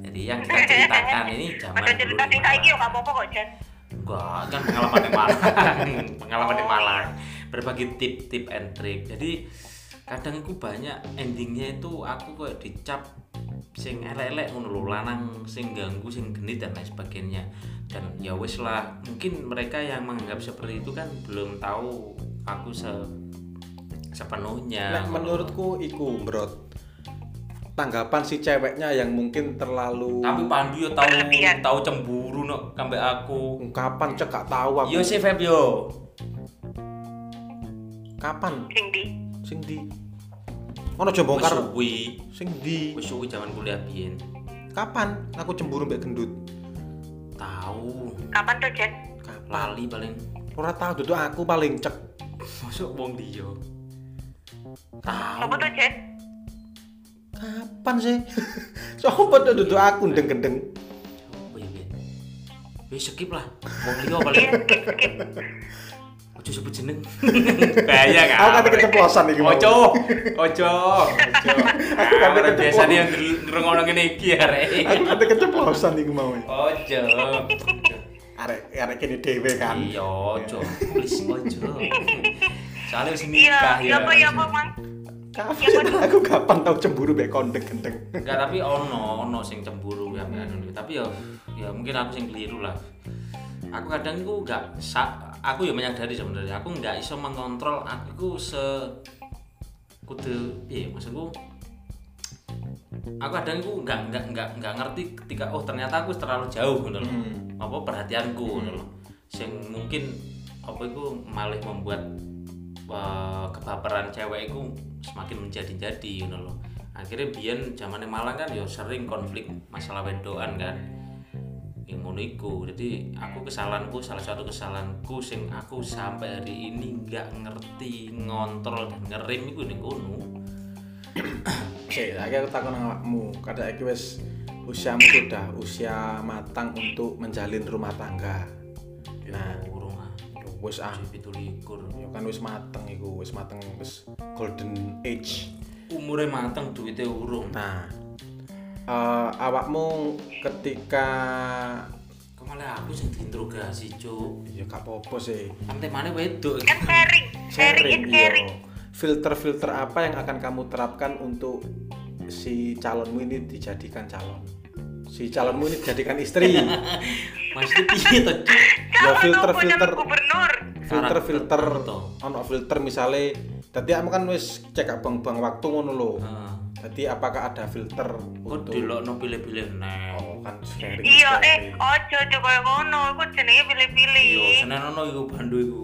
[SPEAKER 2] Jadi yang kita ceritakan ini zaman
[SPEAKER 3] Padahal cerita sing saiki yo gak apa-apa kok jen
[SPEAKER 2] Enggak, kan pengalaman di Malang. <laughs> pengalaman di
[SPEAKER 3] Oh,
[SPEAKER 2] Malang. Berbagi tip-tip and trik. Jadi kadang aku banyak endingnya itu aku kok dicap sing elek-elek ngono lho, lanang sing ganggu sing genit dan lain sebagainya dan ya wis lah mungkin mereka yang menganggap seperti itu kan belum tahu aku se sepenuhnya
[SPEAKER 1] Nah, menurutku iku brot tanggapan si ceweknya yang mungkin terlalu
[SPEAKER 2] tapi Pandu ya tahu
[SPEAKER 3] Berlebihan.
[SPEAKER 2] tahu cemburu no kambek aku
[SPEAKER 1] ungkapan cek gak tahu aku
[SPEAKER 2] yo Iya, sih Feb yo
[SPEAKER 1] kapan
[SPEAKER 3] sing di
[SPEAKER 1] sing di ono aja
[SPEAKER 2] wis
[SPEAKER 1] bongkar
[SPEAKER 2] suwi
[SPEAKER 1] sing di
[SPEAKER 2] wis suwi zaman kuliah biyen
[SPEAKER 1] kapan aku cemburu mbek gendut
[SPEAKER 2] tahu
[SPEAKER 3] kapan tuh jen
[SPEAKER 1] kapan
[SPEAKER 2] lali paling <laughs>
[SPEAKER 1] ora tahu duduk aku paling cek
[SPEAKER 2] masuk wong dia
[SPEAKER 3] apa
[SPEAKER 2] tahu
[SPEAKER 3] tuh jen
[SPEAKER 1] kapan sih <laughs> sopo tuh duduk aku ndeng gendeng
[SPEAKER 2] Apa ya, Ben? wis skip lah wong
[SPEAKER 3] <laughs>
[SPEAKER 2] dia
[SPEAKER 3] iya
[SPEAKER 2] paling
[SPEAKER 3] skip skip
[SPEAKER 2] ojo sebut jeneng <laughs> bahaya kan
[SPEAKER 1] aku kate keceplosan iki mau.
[SPEAKER 2] ojo ojo ojo
[SPEAKER 1] Aku kate
[SPEAKER 2] orang
[SPEAKER 1] keceplosan.
[SPEAKER 2] biasa dia ngerungokno ngene iki arek
[SPEAKER 1] aku kate keceplosan iku mau
[SPEAKER 2] ojo
[SPEAKER 1] arek arek kene dhewe kan
[SPEAKER 2] iya ojo please
[SPEAKER 3] <laughs>
[SPEAKER 2] ojo soalnya wis
[SPEAKER 3] iya
[SPEAKER 2] nikah
[SPEAKER 3] iya
[SPEAKER 2] ya
[SPEAKER 3] apa iya apa mang
[SPEAKER 1] kapan aku kapan tahu cemburu mbek kon ndeng gendeng
[SPEAKER 2] Enggak, tapi ono ono sing cemburu ya enggak ngono. Tapi ya ya mungkin aku sing keliru lah. Aku kadang iku enggak sa- aku ya menyadari sebenarnya aku enggak iso mengontrol aku iku se kudu piye maksudku aku kadang iku enggak enggak enggak enggak ngerti ketika oh ternyata aku terlalu jauh ngono loh.
[SPEAKER 1] Hmm.
[SPEAKER 2] Apa perhatianku ngono loh. Sing mungkin apa iku malah membuat eh, kebaperan cewek itu semakin menjadi-jadi you know loh akhirnya biyen zaman Malang kan ya sering konflik masalah wedoan kan yang ngono iku. jadi aku kesalahanku salah satu kesalahanku sing aku sampai hari ini nggak ngerti ngontrol dan ngerem iku ning kono
[SPEAKER 1] oke lagi aku takon nang awakmu kada iki wis usiamu sudah usia matang untuk menjalin rumah tangga nah
[SPEAKER 2] urung ah
[SPEAKER 1] yo wis ah
[SPEAKER 2] pitu likur
[SPEAKER 1] yo kan wis mateng iku wis mateng wis golden age
[SPEAKER 2] umurnya mateng duitnya urung
[SPEAKER 1] nah eh, awakmu ketika
[SPEAKER 2] malah aku sing diinterogasi cuk
[SPEAKER 1] iya gak apa-apa sih
[SPEAKER 2] kan temane wedok
[SPEAKER 3] kan sharing sharing is caring
[SPEAKER 1] iya. filter-filter apa yang akan kamu terapkan untuk si calonmu ini dijadikan calon si calonmu ini dijadikan
[SPEAKER 3] <laughs>
[SPEAKER 1] istri
[SPEAKER 2] Mas itu piye to Cuk?
[SPEAKER 1] Ya,
[SPEAKER 3] kalau
[SPEAKER 1] filter,
[SPEAKER 3] aku zaman
[SPEAKER 1] filter.
[SPEAKER 3] gubernur
[SPEAKER 1] filter filter
[SPEAKER 2] Toh.
[SPEAKER 1] ono filter misalnya tadi kamu kan wis cek abang bang waktu ngono lho
[SPEAKER 2] Heeh.
[SPEAKER 1] jadi apakah ada filter
[SPEAKER 2] Kok
[SPEAKER 1] untuk
[SPEAKER 2] delokno pilih-pilih nek.
[SPEAKER 1] oh kan sharing
[SPEAKER 3] iya eh
[SPEAKER 1] sharing.
[SPEAKER 3] ojo ojo koyo ngono iku jenenge
[SPEAKER 2] Yo
[SPEAKER 3] pilih-pilih
[SPEAKER 2] senenono iku bandu iku.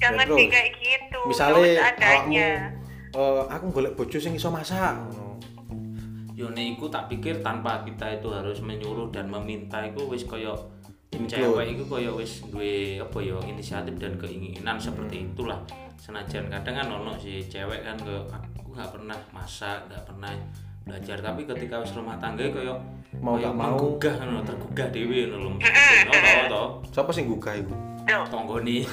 [SPEAKER 3] jangan
[SPEAKER 1] Terus,
[SPEAKER 3] sih kayak gitu
[SPEAKER 1] misalnya
[SPEAKER 3] Terus
[SPEAKER 1] awakmu
[SPEAKER 3] adanya
[SPEAKER 1] eh, aku golek bojo sing iso masak ngono.
[SPEAKER 2] Yo nek iku tak pikir tanpa kita itu harus menyuruh dan meminta iku wis koyo
[SPEAKER 1] Include.
[SPEAKER 2] cewek itu koyo wis duwe apa ya inisiatif dan keinginan
[SPEAKER 1] Hmm.
[SPEAKER 2] seperti itulah senajan kadang kan ono si cewek kan koyo aku nggak pernah masak nggak pernah belajar tapi ketika wis rumah tangga koyo
[SPEAKER 1] Mau
[SPEAKER 2] koyo
[SPEAKER 1] nggak mau.
[SPEAKER 2] menggugah ngono tergugah dhewe ngono lho ono to to
[SPEAKER 1] siapa sing gugah iku
[SPEAKER 3] Duh,
[SPEAKER 2] tonggone <laughs>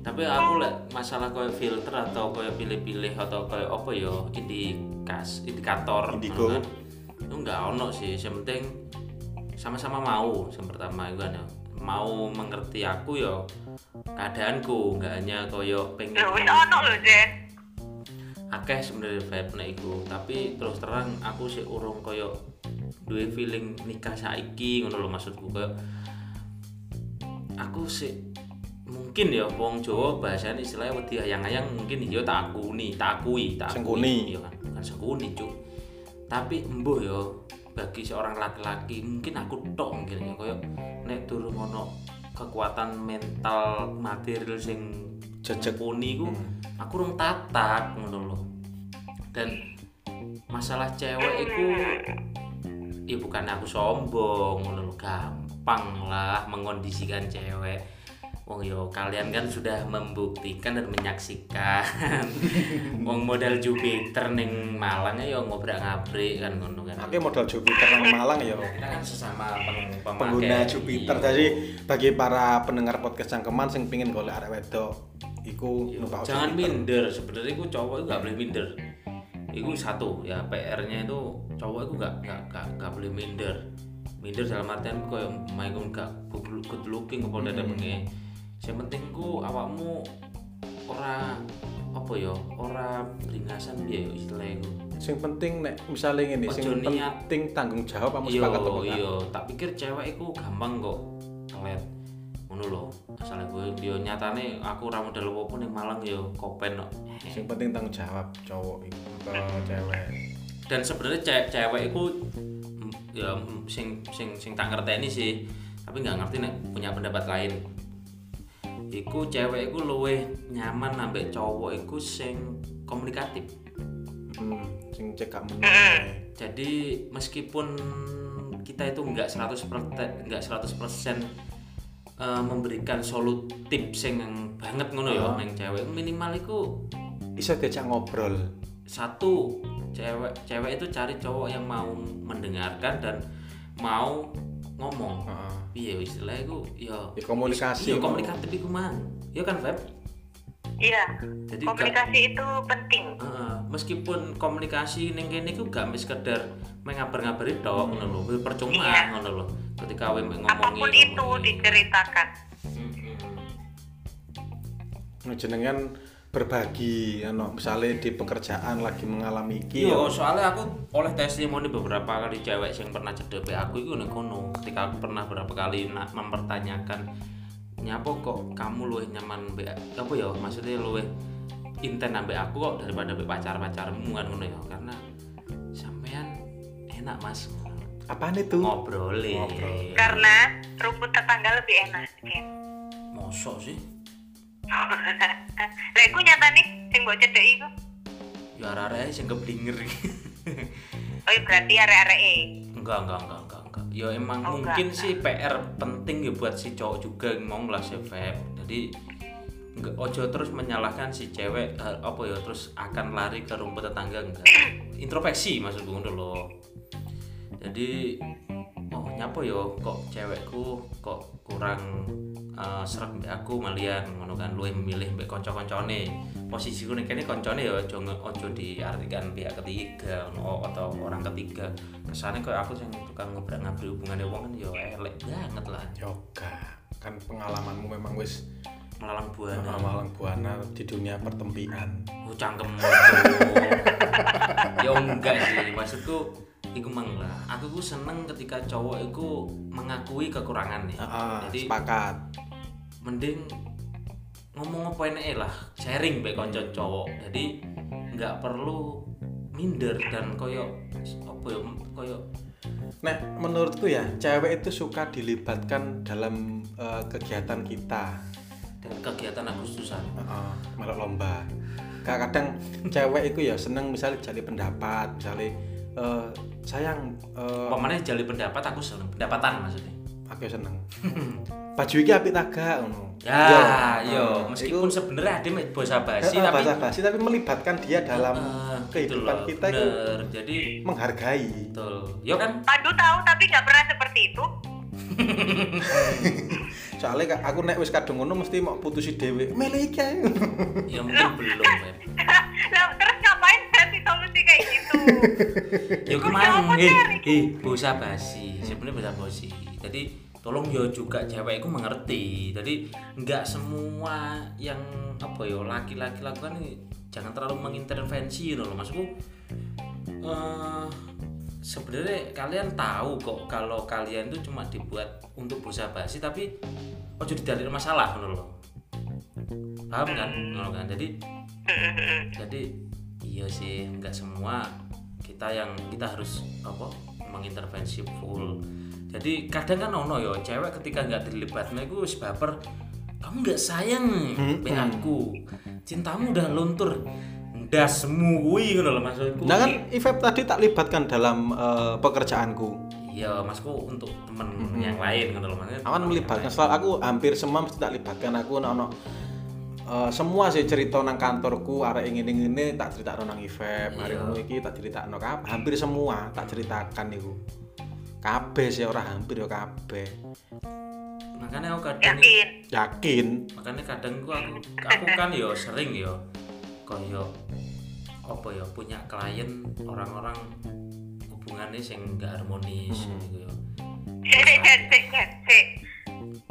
[SPEAKER 2] tapi aku lek masalah koyo filter atau koyo pilih-pilih atau koyo apa ya indikas indikator
[SPEAKER 1] Indigo.
[SPEAKER 2] ngono kan. itu nggak ono sih yang penting sama-sama mau yang pertama itu kan ya mau mengerti aku ya keadaanku nggak hanya koyo pengen
[SPEAKER 3] lho Ya, wis ono lho Zen
[SPEAKER 2] akeh sebenarnya vibe nek iku tapi terus terang aku sih urung koyo duwe feeling nikah saiki ngono lho maksudku koyo aku sih mungkin ya wong Jawa bahasane istilahnya wedi ayang-ayang mungkin ya tak akuni, tak akui, tak akui.
[SPEAKER 1] Sengkuni.
[SPEAKER 2] ya kan bukan sengkuni cuk. Tapi embuh ya bagi seorang laki-laki mungkin aku tok mungkin ya koyo nek durung ono kekuatan mental material sing
[SPEAKER 1] Jejeg.
[SPEAKER 2] kuni ku aku rung tatak ngono lho. Dan masalah cewek iku ya bukan aku sombong ngono lho gampang lah mengondisikan cewek. Wong yo kalian kan sudah membuktikan dan
[SPEAKER 1] <laughs>
[SPEAKER 2] menyaksikan. Wong modal Jupiter ning Malang ya ngobrak-ngabrik kan ngono kan.
[SPEAKER 1] Oke modal Jupiter nang Malang ya
[SPEAKER 2] Kita kan sesama peng- pemakai.
[SPEAKER 1] pengguna Jupiter
[SPEAKER 2] Iya.
[SPEAKER 1] jadi bagi para pendengar podcast cangkeman sing pengin golek arek wedok iku
[SPEAKER 2] Yo,
[SPEAKER 1] numpak
[SPEAKER 2] Iya, jangan
[SPEAKER 1] Jupiter.
[SPEAKER 2] minder sebenarnya itu cowok itu nggak boleh minder itu satu ya PR-nya itu cowok itu nggak nggak nggak nggak boleh minder minder dalam artian kau yang main kau nggak good- good looking
[SPEAKER 1] Hmm.
[SPEAKER 2] apa udah pengen yang penting ku awakmu ora apa ya ora beringasan dia yo istilahnya itu
[SPEAKER 1] sing penting nek misalnya ngene sing
[SPEAKER 2] Ojo niat.
[SPEAKER 1] penting tanggung jawab kamu
[SPEAKER 2] iya
[SPEAKER 1] sepakat apa enggak?
[SPEAKER 2] iya tak pikir cewek itu gampang kok kelet ngono lho asal gue yo nyatane aku ora model apa ning Malang yo kopen kok
[SPEAKER 1] sing penting tanggung jawab cowok iku apa cewek
[SPEAKER 2] dan sebenarnya cewek cewek itu mm, ya mm, sing sing sing tak ngerti ini sih tapi nggak ngerti nek punya pendapat lain iku cewek iku luwih nyaman ambek cowok iku sing komunikatif
[SPEAKER 1] hmm, sing cek gak menyang
[SPEAKER 2] jadi meskipun kita itu nggak 100% nggak 100% eh, memberikan solutif sing banget ngono ya
[SPEAKER 1] Oh.
[SPEAKER 2] neng cewek minimal iku
[SPEAKER 1] iso diajak ngobrol
[SPEAKER 2] satu cewek cewek itu cari cowok yang mau mendengarkan dan mau ngomong
[SPEAKER 1] Heeh.
[SPEAKER 2] iya istilahnya itu ya
[SPEAKER 1] Ya, komunikasi
[SPEAKER 2] iya
[SPEAKER 1] mau.
[SPEAKER 2] komunikatif itu mang ya kan Feb
[SPEAKER 3] iya
[SPEAKER 2] jadi gak-
[SPEAKER 3] komunikasi itu penting
[SPEAKER 2] Heeh, meskipun komunikasi ning kene iku gak mes sekedar main ngabar-ngabari tok ngono lho wis percuma
[SPEAKER 3] Iya.
[SPEAKER 2] ngono lho ketika we ngomongi
[SPEAKER 3] apapun itu
[SPEAKER 2] ngomongi.
[SPEAKER 3] diceritakan
[SPEAKER 2] gitu. Mm-mm.
[SPEAKER 1] Nah, jenengan berbagi ano misalnya di pekerjaan lagi mengalami iki
[SPEAKER 2] Iya,
[SPEAKER 1] ya.
[SPEAKER 2] soalnya aku oleh testimoni beberapa kali cewek yang pernah cedek aku itu nih kono. Ketika aku pernah beberapa kali na- mempertanyakan nyapa kok kamu luwih nyaman be apa ya maksudnya luwih inten ambek aku kok daripada ambek pacar-pacarmu kan ngono ya karena sampean enak Mas
[SPEAKER 1] apaan itu
[SPEAKER 2] Oh. ngobrolin.
[SPEAKER 1] Ngobrol.
[SPEAKER 3] karena rumput tetangga lebih enak Zen.
[SPEAKER 2] Mosok sih?
[SPEAKER 3] <laughs> lah iku nyatane sing mbok cedhek iku
[SPEAKER 2] Ya arek-arek sing keblinger. <laughs>
[SPEAKER 3] oh iya, berarti arek-arek e
[SPEAKER 2] enggak, enggak, enggak, enggak, enggak. Ya emang
[SPEAKER 3] Oh,
[SPEAKER 2] mungkin
[SPEAKER 3] enggak.
[SPEAKER 2] sih PR penting ya buat si cowok juga yang mau ngelas ya Feb. Jadi enggak ojo terus menyalahkan si cewek eh, apa ya terus akan lari ke rumput tetangga enggak. Introspeksi maksud gue dulu. Jadi oh nyapa yo kok cewekku kok kurang eh, sreg mbek aku malian ngono kan luwih memilih mbek kanca-kancane posisiku ning kene kancane yo aja nge- aja diartikan pihak ketiga ngono, atau orang ketiga kesane kayak aku sing tukang ngebrak-ngabrik hubungane wong kan yo elek banget lah
[SPEAKER 1] yoga kan pengalamanmu memang wis
[SPEAKER 2] melalang buana
[SPEAKER 1] malang buana di dunia pertempian
[SPEAKER 2] Oh cangkem <laughs> motor. ya enggak sih, maksudku iku mang lah. Aku ku seneng ketika cowok iku mengakui kekurangannya.
[SPEAKER 1] Ah,
[SPEAKER 2] Jadi
[SPEAKER 1] sepakat
[SPEAKER 2] mending ngomong apa enak lah, sharing bae kanca
[SPEAKER 1] Hmm.
[SPEAKER 2] cowok. Jadi nggak perlu minder dan koyo apa ya koyo
[SPEAKER 1] Nah, menurutku ya, cewek itu suka dilibatkan dalam eh, kegiatan kita,
[SPEAKER 2] dan kegiatan Agustusan.
[SPEAKER 1] Heeh, melok lomba. Ka- Kadang cewek itu ya seneng misalnya jadi pendapat, misalnya eh, sayang, eh,
[SPEAKER 2] Pemane jali pendapat aku seneng, pendapatan maksudnya.
[SPEAKER 1] aku
[SPEAKER 2] <laughs>
[SPEAKER 1] seneng. Baju iki apik tagak ngono.
[SPEAKER 2] Ya,
[SPEAKER 1] Yo,
[SPEAKER 2] yo,
[SPEAKER 1] eh,
[SPEAKER 2] meskipun sebenarnya dia bahasa
[SPEAKER 1] Heeh,
[SPEAKER 2] basi tapi
[SPEAKER 1] basa-basi, tapi melibatkan dia dalam
[SPEAKER 2] Ah, gitu
[SPEAKER 1] kehidupan
[SPEAKER 2] loh,
[SPEAKER 1] kita itu
[SPEAKER 2] bener. jadi
[SPEAKER 1] menghargai.
[SPEAKER 2] betul yo kan
[SPEAKER 3] Pandu tahu tapi nggak pernah seperti itu. <laughs>
[SPEAKER 1] Soalnya ka- aku nek wis kadung ngono mesti mau putusi dhewe. Milih iki. ae.
[SPEAKER 2] ya mungkin belum Feb.
[SPEAKER 3] Lah, terus ngapain kasih solusi kayak gitu?
[SPEAKER 2] yo
[SPEAKER 3] Kok
[SPEAKER 2] kemana
[SPEAKER 3] jawaban
[SPEAKER 2] eh
[SPEAKER 3] dari-
[SPEAKER 2] eh bahasa basi sebenarnya bahasa basi jadi tolong yo juga cewek itu mengerti jadi nggak semua yang apa yo laki-laki lakukan ini jangan terlalu mengintervensi loh maksudku eh sebenarnya kalian tahu kok kalau kalian tuh cuma dibuat untuk bahasa basi tapi ojo didalil masalah ngono loh paham kan ngono kan jadi jadi iya sih nggak semua kita yang kita harus apa mengintervensi full jadi kadang kan ono yo cewek ketika nggak terlibat nah itu wis baper kamu nggak sayang
[SPEAKER 1] Hmm,
[SPEAKER 2] be
[SPEAKER 1] hmm.
[SPEAKER 2] aku cintamu udah luntur udah semui gitu loh maksudku
[SPEAKER 1] Nah kan Ifeb tadi tak libatkan dalam eh, pekerjaanku.
[SPEAKER 2] iya masku untuk temen yang lain gitu loh maksudnya
[SPEAKER 1] awan
[SPEAKER 2] temen yang
[SPEAKER 1] Hmm. kan melibatkan
[SPEAKER 2] lain.
[SPEAKER 1] selalu aku hampir semua mesti tak libatkan aku ono eh, semua sih cerita nang kantorku arek ingin ini tak cerita nang event hari
[SPEAKER 2] Iya.
[SPEAKER 1] ngono iki tak cerita nang hampir semua tak ceritakan itu kabeh sih ora hampir ya kabeh
[SPEAKER 2] makanya aku kadang
[SPEAKER 3] Yakin.
[SPEAKER 1] yakin
[SPEAKER 2] makanya kadang gua aku aku kan yo sering yo koyo apa yo punya klien orang-orang hubungannya sing nggak harmonis
[SPEAKER 1] Hmm.
[SPEAKER 2] gitu yo
[SPEAKER 3] Cek, cek, cek, cek, cek, cek.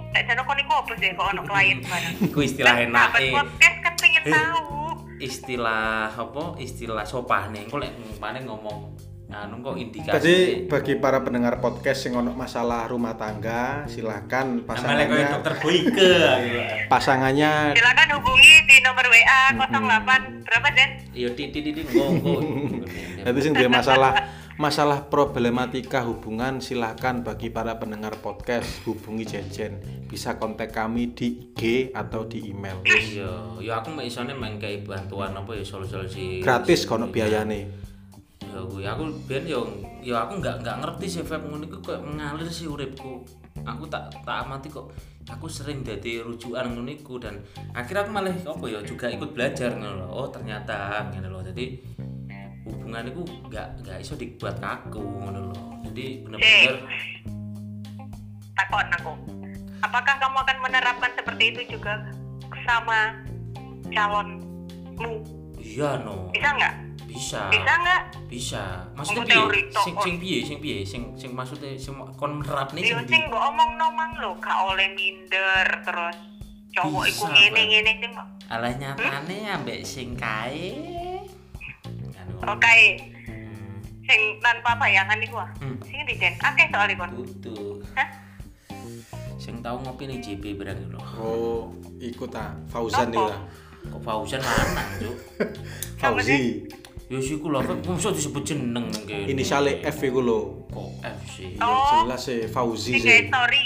[SPEAKER 3] Nah, sana kok niku apa sih kok ono klien bareng?
[SPEAKER 2] <laughs> Iku istilah enak e.
[SPEAKER 3] Sahabat podcast kan pengen tahu.
[SPEAKER 2] istilah apa istilah sopan nih kok lek mana ngomong anu kok
[SPEAKER 1] jadi
[SPEAKER 2] indikasi
[SPEAKER 1] bagi para pendengar podcast yang ono masalah rumah tangga silahkan
[SPEAKER 2] namanya
[SPEAKER 1] pasangannya
[SPEAKER 2] koyo dokter
[SPEAKER 1] <laughs>
[SPEAKER 2] Boyke gitu
[SPEAKER 1] pasangannya
[SPEAKER 3] Silakan hubungi di nomor WA 08 berapa Den?
[SPEAKER 2] yo titi titi ngomong
[SPEAKER 3] Ya,
[SPEAKER 1] Jadi sing duwe masalah masalah problematika hubungan silahkan bagi para pendengar podcast hubungi Jejen bisa kontak kami di IG atau di email
[SPEAKER 2] yo yo aku mau isone mengkai bantuan apa ya solusi
[SPEAKER 1] gratis kono biayane
[SPEAKER 2] ya gue aku biar yo yo aku nggak nggak ngerti sih vape ngono iku kok mengalir sih uripku aku tak tak amati kok aku sering jadi rujukan ngono iku dan akhirnya aku malah apa ya juga ikut belajar ngono loh oh ternyata ngono loh jadi hubungan itu nggak nggak iso dibuat kaku ngono loh jadi bener-bener
[SPEAKER 3] Takon aku. Apakah kamu akan menerapkan seperti itu juga sama calonmu?
[SPEAKER 2] iya no
[SPEAKER 3] Bisa nggak?
[SPEAKER 2] bisa
[SPEAKER 3] Bisa nggak?
[SPEAKER 2] bisa maksudnya
[SPEAKER 3] Aku teori
[SPEAKER 2] piye
[SPEAKER 3] tok,
[SPEAKER 2] sing
[SPEAKER 3] kon.
[SPEAKER 2] sing piye sing piye sing sing maksudnya sing kon nerapne
[SPEAKER 3] Yo
[SPEAKER 2] sing
[SPEAKER 3] Iya, sing
[SPEAKER 2] piye?
[SPEAKER 3] mbok omong nomang lho, gak oleh minder terus cowok iku
[SPEAKER 2] Bisa, Bang.
[SPEAKER 3] ngene-ngene sing mbok-
[SPEAKER 2] alah nyatane ambek sing kae Anu.
[SPEAKER 3] oke sing tanpa bayangan iku ah.
[SPEAKER 2] Hmm.
[SPEAKER 3] Sing di Den. Akeh soal iku.
[SPEAKER 2] Tutu.
[SPEAKER 3] Hah?
[SPEAKER 2] Sing tau ngopi ning JB berang lho.
[SPEAKER 1] oh ikut ta Fauzan
[SPEAKER 3] Apa?
[SPEAKER 1] iki ta
[SPEAKER 2] Kok Fauzan lanang, Cuk.
[SPEAKER 3] Sama
[SPEAKER 1] Fauzi
[SPEAKER 2] Ya sik lho, kok mesti disebut jeneng nang kene.
[SPEAKER 1] inisiale F iku lho
[SPEAKER 2] Kok F sih?
[SPEAKER 1] Iya,
[SPEAKER 3] Oh.
[SPEAKER 1] jelas sih Fauzi
[SPEAKER 3] Sing
[SPEAKER 1] sih
[SPEAKER 3] kayak story.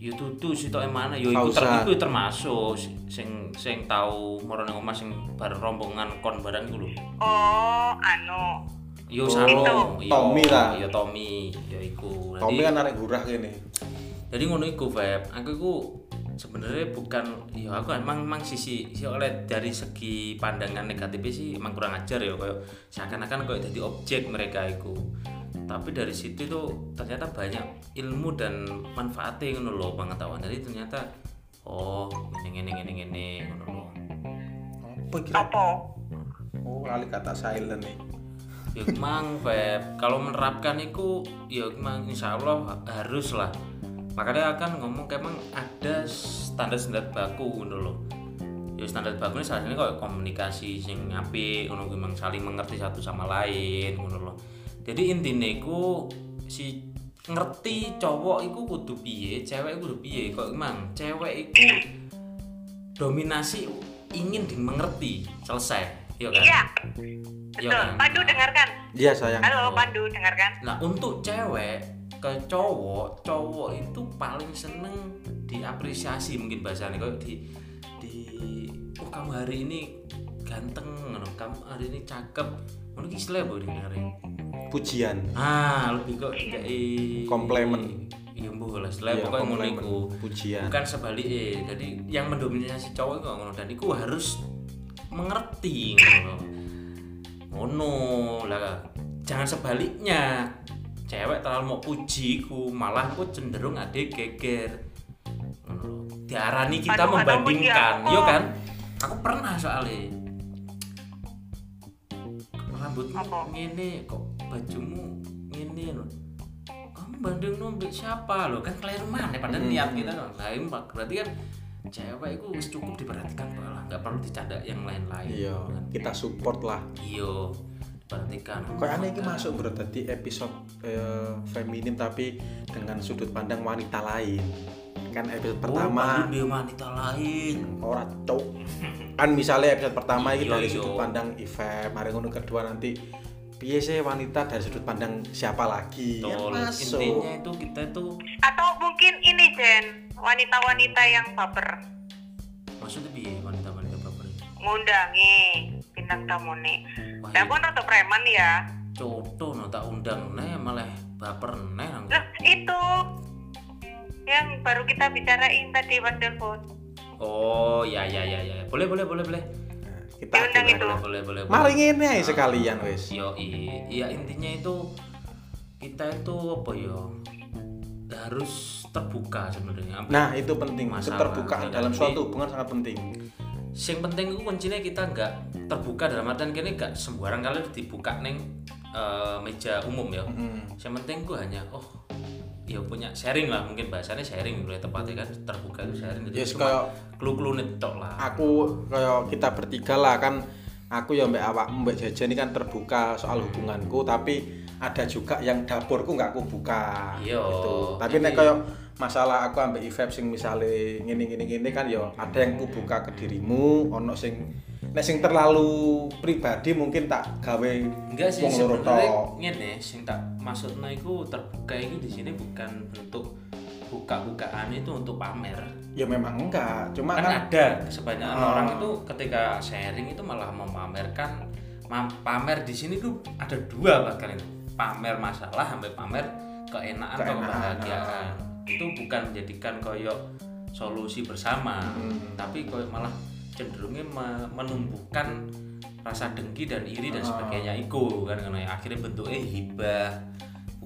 [SPEAKER 2] Ya tutu sih tok mana ya iku ter
[SPEAKER 1] Fauzan.
[SPEAKER 2] iku termasuk sing sing tau moro ning omah sing bar rombongan kon barang iku lho.
[SPEAKER 3] Oh, anu.
[SPEAKER 2] Yo
[SPEAKER 1] Oh,
[SPEAKER 2] Salo, yo-
[SPEAKER 1] Tommy lah.
[SPEAKER 2] Yo Tommy, yo iku. Dadi-
[SPEAKER 1] Tommy kan arek gurah kene
[SPEAKER 2] jadi ngono iku Feb aku iku sebenarnya bukan ya aku emang emang sisi si oleh dari segi pandangan negatif sih emang kurang ajar ya kayak seakan-akan kayak jadi objek mereka iku tapi dari situ itu ternyata banyak ilmu dan manfaatnya ngono loh pengetahuan jadi ternyata oh ini ini ini ini ngono loh
[SPEAKER 1] apa kira
[SPEAKER 3] Apa?
[SPEAKER 1] oh lali kata silent e. nih
[SPEAKER 2] ya mang Feb kalau menerapkan itu ya mang insya Allah harus lah makanya akan ngomong kayak emang ada standar standar baku ngono loh ya standar baku ini salah satunya kayak komunikasi sing apik ngono kuwi, mang saling mengerti satu sama lain ngono loh jadi intinya iku si ngerti cowok iku kudu piye cewek kudu piye kok emang cewek iku dominasi ingin dimengerti selesai Iya kan
[SPEAKER 3] Iya,
[SPEAKER 2] Iya
[SPEAKER 3] betul.
[SPEAKER 2] kan?
[SPEAKER 3] Pandu dengarkan.
[SPEAKER 1] iya sayang
[SPEAKER 3] Halo, Pandu dengarkan.
[SPEAKER 2] Nah untuk cewek ke cowok, cowok itu paling seneng diapresiasi mungkin bahasanya kayak di di oh kamu hari ini ganteng ngono, kamu hari ini cakep. Ngono ki istilah apa dengerin?
[SPEAKER 1] pujian
[SPEAKER 2] Ah, lebih kok kayak
[SPEAKER 1] Komplimen.
[SPEAKER 2] Iya, mbuh lah istilah
[SPEAKER 1] Iya,
[SPEAKER 2] pokoknya ngono
[SPEAKER 1] komplimen,
[SPEAKER 2] iku.
[SPEAKER 1] pujian
[SPEAKER 2] Bukan sebaliknya. Jadi yang mendominasi cowok itu nggak ngono dan iku harus mengerti ngono. Ngono lah. Jangan sebaliknya. Cewek terlalu mau puji ku, malah ku cenderung ada geger. Ngono lho. Diarani kita
[SPEAKER 3] Aduh, ya aduh,
[SPEAKER 2] membandingkan,
[SPEAKER 3] puji aku.
[SPEAKER 2] yo kan? Aku pernah soalnya rambutmu
[SPEAKER 3] Apa?
[SPEAKER 2] ngene kok bajumu ngene lho kamu banding nombek siapa lo kan keliru mana padahal
[SPEAKER 1] Hmm.
[SPEAKER 2] niat kita kan lain Pak. berarti kan cewek itu wis cukup diperhatikan Pak, lah nggak perlu dicanda yang lain-lain
[SPEAKER 1] iya
[SPEAKER 2] kan.
[SPEAKER 1] kita support lah
[SPEAKER 2] iya diperhatikan
[SPEAKER 1] Kayak aneh ini masuk bro tadi episode eh, feminim tapi dengan sudut pandang wanita lain. Kan episode
[SPEAKER 2] Oh, pertama
[SPEAKER 1] pertama
[SPEAKER 2] dia wanita lain
[SPEAKER 1] ora cok. Kan misalnya episode pertama ini
[SPEAKER 2] Iya,
[SPEAKER 1] dari
[SPEAKER 2] iya.
[SPEAKER 1] sudut pandang Ive, mari ngono kedua nanti piye sih wanita dari sudut pandang siapa lagi? Kan
[SPEAKER 2] Betul.
[SPEAKER 1] masuk.
[SPEAKER 2] intinya itu kita itu
[SPEAKER 3] Atau mungkin ini Jen, wanita-wanita yang baper
[SPEAKER 2] maksudnya biar wanita-wanita baper
[SPEAKER 3] ngundangi bintang tamu nih.
[SPEAKER 2] wah
[SPEAKER 3] Tapi kan rada preman ya.
[SPEAKER 2] contoh no tak undang nih malah baper nih nang
[SPEAKER 3] Loh, itu yang baru kita bicarain tadi Wonderful.
[SPEAKER 2] oh ya ya ya ya boleh boleh boleh boleh
[SPEAKER 1] Nah, kita
[SPEAKER 3] Diundang
[SPEAKER 1] akhirnya-
[SPEAKER 3] itu.
[SPEAKER 2] boleh boleh boleh
[SPEAKER 1] Mari
[SPEAKER 2] boleh.
[SPEAKER 1] ngene ae sekalian wis.
[SPEAKER 2] yo iya intinya itu kita itu apa yo harus terbuka sebenarnya Ambil-
[SPEAKER 1] Nah, itu penting.
[SPEAKER 2] Masalah. Iya,
[SPEAKER 1] Keterbukaan dalam suatu hubungan sangat penting.
[SPEAKER 2] sing penting itu kuncinya kita nggak terbuka dalam artian kini nggak sembarang kali dibuka neng eh, meja umum ya
[SPEAKER 1] Mm.
[SPEAKER 2] yang penting gue hanya oh ya punya sharing lah mungkin bahasanya sharing boleh tepatnya kan terbuka itu sharing gitu.
[SPEAKER 1] Ya,
[SPEAKER 2] Jadi
[SPEAKER 1] kayak-
[SPEAKER 2] clue-clue netok lah
[SPEAKER 1] aku kayak kita bertiga lah kan aku ya mbak awak mbak jaja ini kan terbuka soal hubunganku tapi ada juga yang dapurku nggak aku buka
[SPEAKER 2] Iya.
[SPEAKER 1] gitu. tapi nek
[SPEAKER 2] Jadi-
[SPEAKER 1] kayak masalah aku ambek Ivep sing misalnya ngene ngene ngene kan ya ada yang ku buka ke dirimu ono sing nek sing terlalu pribadi mungkin tak gawe
[SPEAKER 2] enggak sih
[SPEAKER 1] wong loro
[SPEAKER 2] sebenarnya
[SPEAKER 1] tok.
[SPEAKER 2] ngene sing tak maksudnya itu terbuka itu di sini bukan bentuk buka-bukaan itu untuk pamer
[SPEAKER 1] ya memang enggak cuma
[SPEAKER 2] kan,
[SPEAKER 1] kan
[SPEAKER 2] <laughs> ada kebanyakan
[SPEAKER 1] Ah.
[SPEAKER 2] orang itu ketika sharing itu malah mempamerkan mam- pamer di sini tuh ada dua bahkan itu pamer masalah sampai pamer keenaan, atau
[SPEAKER 1] Keenaan,
[SPEAKER 2] kebahagiaan
[SPEAKER 1] oh.
[SPEAKER 2] itu bukan menjadikan koyok solusi bersama
[SPEAKER 1] Hmm.
[SPEAKER 2] tapi koyok malah cenderungnya me- menumbuhkan rasa dengki dan iri dan
[SPEAKER 1] Ah.
[SPEAKER 2] sebagainya itu kan karena akhirnya bentuknya hibah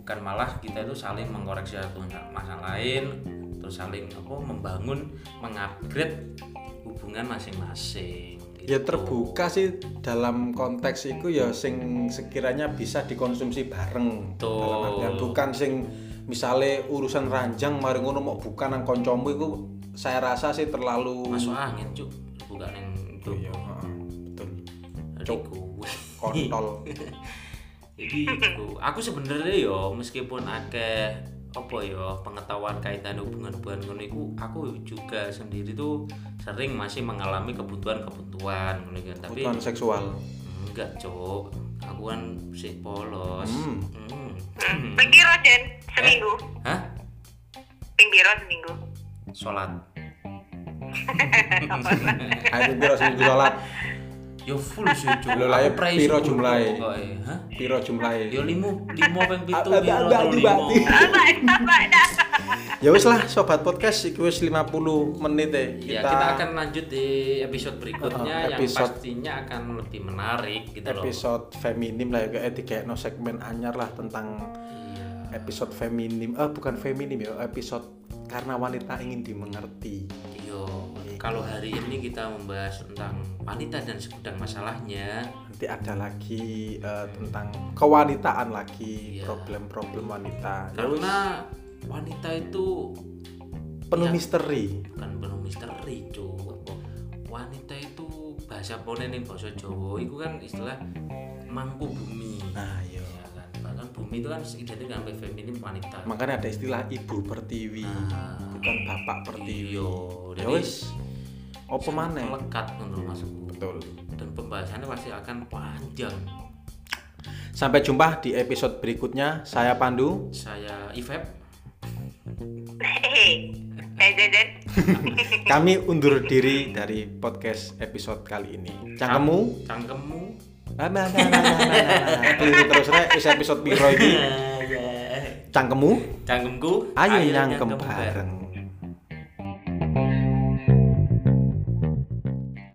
[SPEAKER 2] bukan malah kita itu saling mengkoreksi satu masa lain terus saling apa membangun mengupgrade hubungan masing-masing gitu.
[SPEAKER 1] ya terbuka sih dalam konteks itu ya sing sekiranya bisa dikonsumsi bareng
[SPEAKER 2] Betul.
[SPEAKER 1] dalam artian bukan sing misalnya urusan ranjang mari ngono mau buka nang koncomu itu saya rasa sih terlalu
[SPEAKER 2] masuk angin cuk bukan yang itu
[SPEAKER 1] Iya, heeh, betul
[SPEAKER 2] Jadi
[SPEAKER 1] Cuk.
[SPEAKER 2] ku-
[SPEAKER 1] kontol
[SPEAKER 2] jadi aku, aku sebenarnya yo meskipun akeh apa yo pengetahuan kaitan hubungan-hubungan ngono iku aku juga sendiri tuh sering masih mengalami kebutuhan-kebutuhan ngono iku. tapi
[SPEAKER 1] kebutuhan seksual
[SPEAKER 2] enggak cuk aku kan sih polos
[SPEAKER 1] Hmm.
[SPEAKER 2] Hmm.
[SPEAKER 3] Hmm. Pinggiro Jen, seminggu.
[SPEAKER 2] hah
[SPEAKER 3] Pinggiro seminggu.
[SPEAKER 2] sholat
[SPEAKER 1] ayo biro seminggu sholat
[SPEAKER 2] yo full sih cuk.
[SPEAKER 1] Lho, lah, ya,
[SPEAKER 2] Aku prai
[SPEAKER 1] piro
[SPEAKER 2] sepuluh
[SPEAKER 1] jumlahe?
[SPEAKER 2] pokoke. Hah?
[SPEAKER 1] piro jumlahe
[SPEAKER 2] Yo limo, limo peng pitu,
[SPEAKER 1] Ada-
[SPEAKER 2] piro
[SPEAKER 1] ada- ada,
[SPEAKER 2] telu limo. Ah,
[SPEAKER 1] Mbak.
[SPEAKER 3] Sabar, sabar, dah.
[SPEAKER 1] ya wis lah sobat podcast iki wis 50 menit eh.
[SPEAKER 2] Ya, kita akan lanjut di episode berikutnya
[SPEAKER 1] Uh-uh, episode-
[SPEAKER 2] yang pastinya akan lebih menarik gitu loh.
[SPEAKER 1] episode feminim lah ya kayak dikekno segmen anyar lah tentang
[SPEAKER 2] Iya.
[SPEAKER 1] episode feminim eh bukan feminim ya episode karena wanita ingin dimengerti
[SPEAKER 2] Yo, kalau hari ini kita membahas tentang wanita dan segudang masalahnya.
[SPEAKER 1] nanti ada lagi eh, tentang kewanitaan lagi
[SPEAKER 2] Iya.
[SPEAKER 1] problem-problem wanita Ya wis,
[SPEAKER 2] Karena wanita itu
[SPEAKER 1] penuh
[SPEAKER 2] iya.
[SPEAKER 1] misteri
[SPEAKER 2] bukan penuh misteri, Cuk. Wanita itu bahasa ponen yang bahasa Jawa itu kan istilah mangku bumi.
[SPEAKER 1] nah yo
[SPEAKER 2] Ya kan? Bahkan bumi itu kan identik dengan feminim wanita.
[SPEAKER 1] makanya ada istilah ibu pertiwi
[SPEAKER 2] Nah,
[SPEAKER 1] bukan bapak pertiwi
[SPEAKER 2] Iya,
[SPEAKER 1] ya
[SPEAKER 2] jadi
[SPEAKER 1] wis apa
[SPEAKER 2] sangat
[SPEAKER 1] maneh
[SPEAKER 2] melekat menurut masukku.
[SPEAKER 1] betul
[SPEAKER 2] Dan pembahasannya pasti akan panjang.
[SPEAKER 1] sampai jumpa di episode berikutnya saya Pandu
[SPEAKER 2] Saya Ivep
[SPEAKER 3] Hehehe. Eh, Zen, Zen.
[SPEAKER 1] kami undur diri dari podcast episode kali ini cangkemmu
[SPEAKER 2] cangkemmu. <laughs>
[SPEAKER 1] Nah, nah, nah, nah, nah, nah, nah, nah. Keliru terus rek wis episode piro iki
[SPEAKER 2] Ya, ya.
[SPEAKER 1] cangkemmu
[SPEAKER 2] Cangkemku.
[SPEAKER 1] ayo nyangkem bareng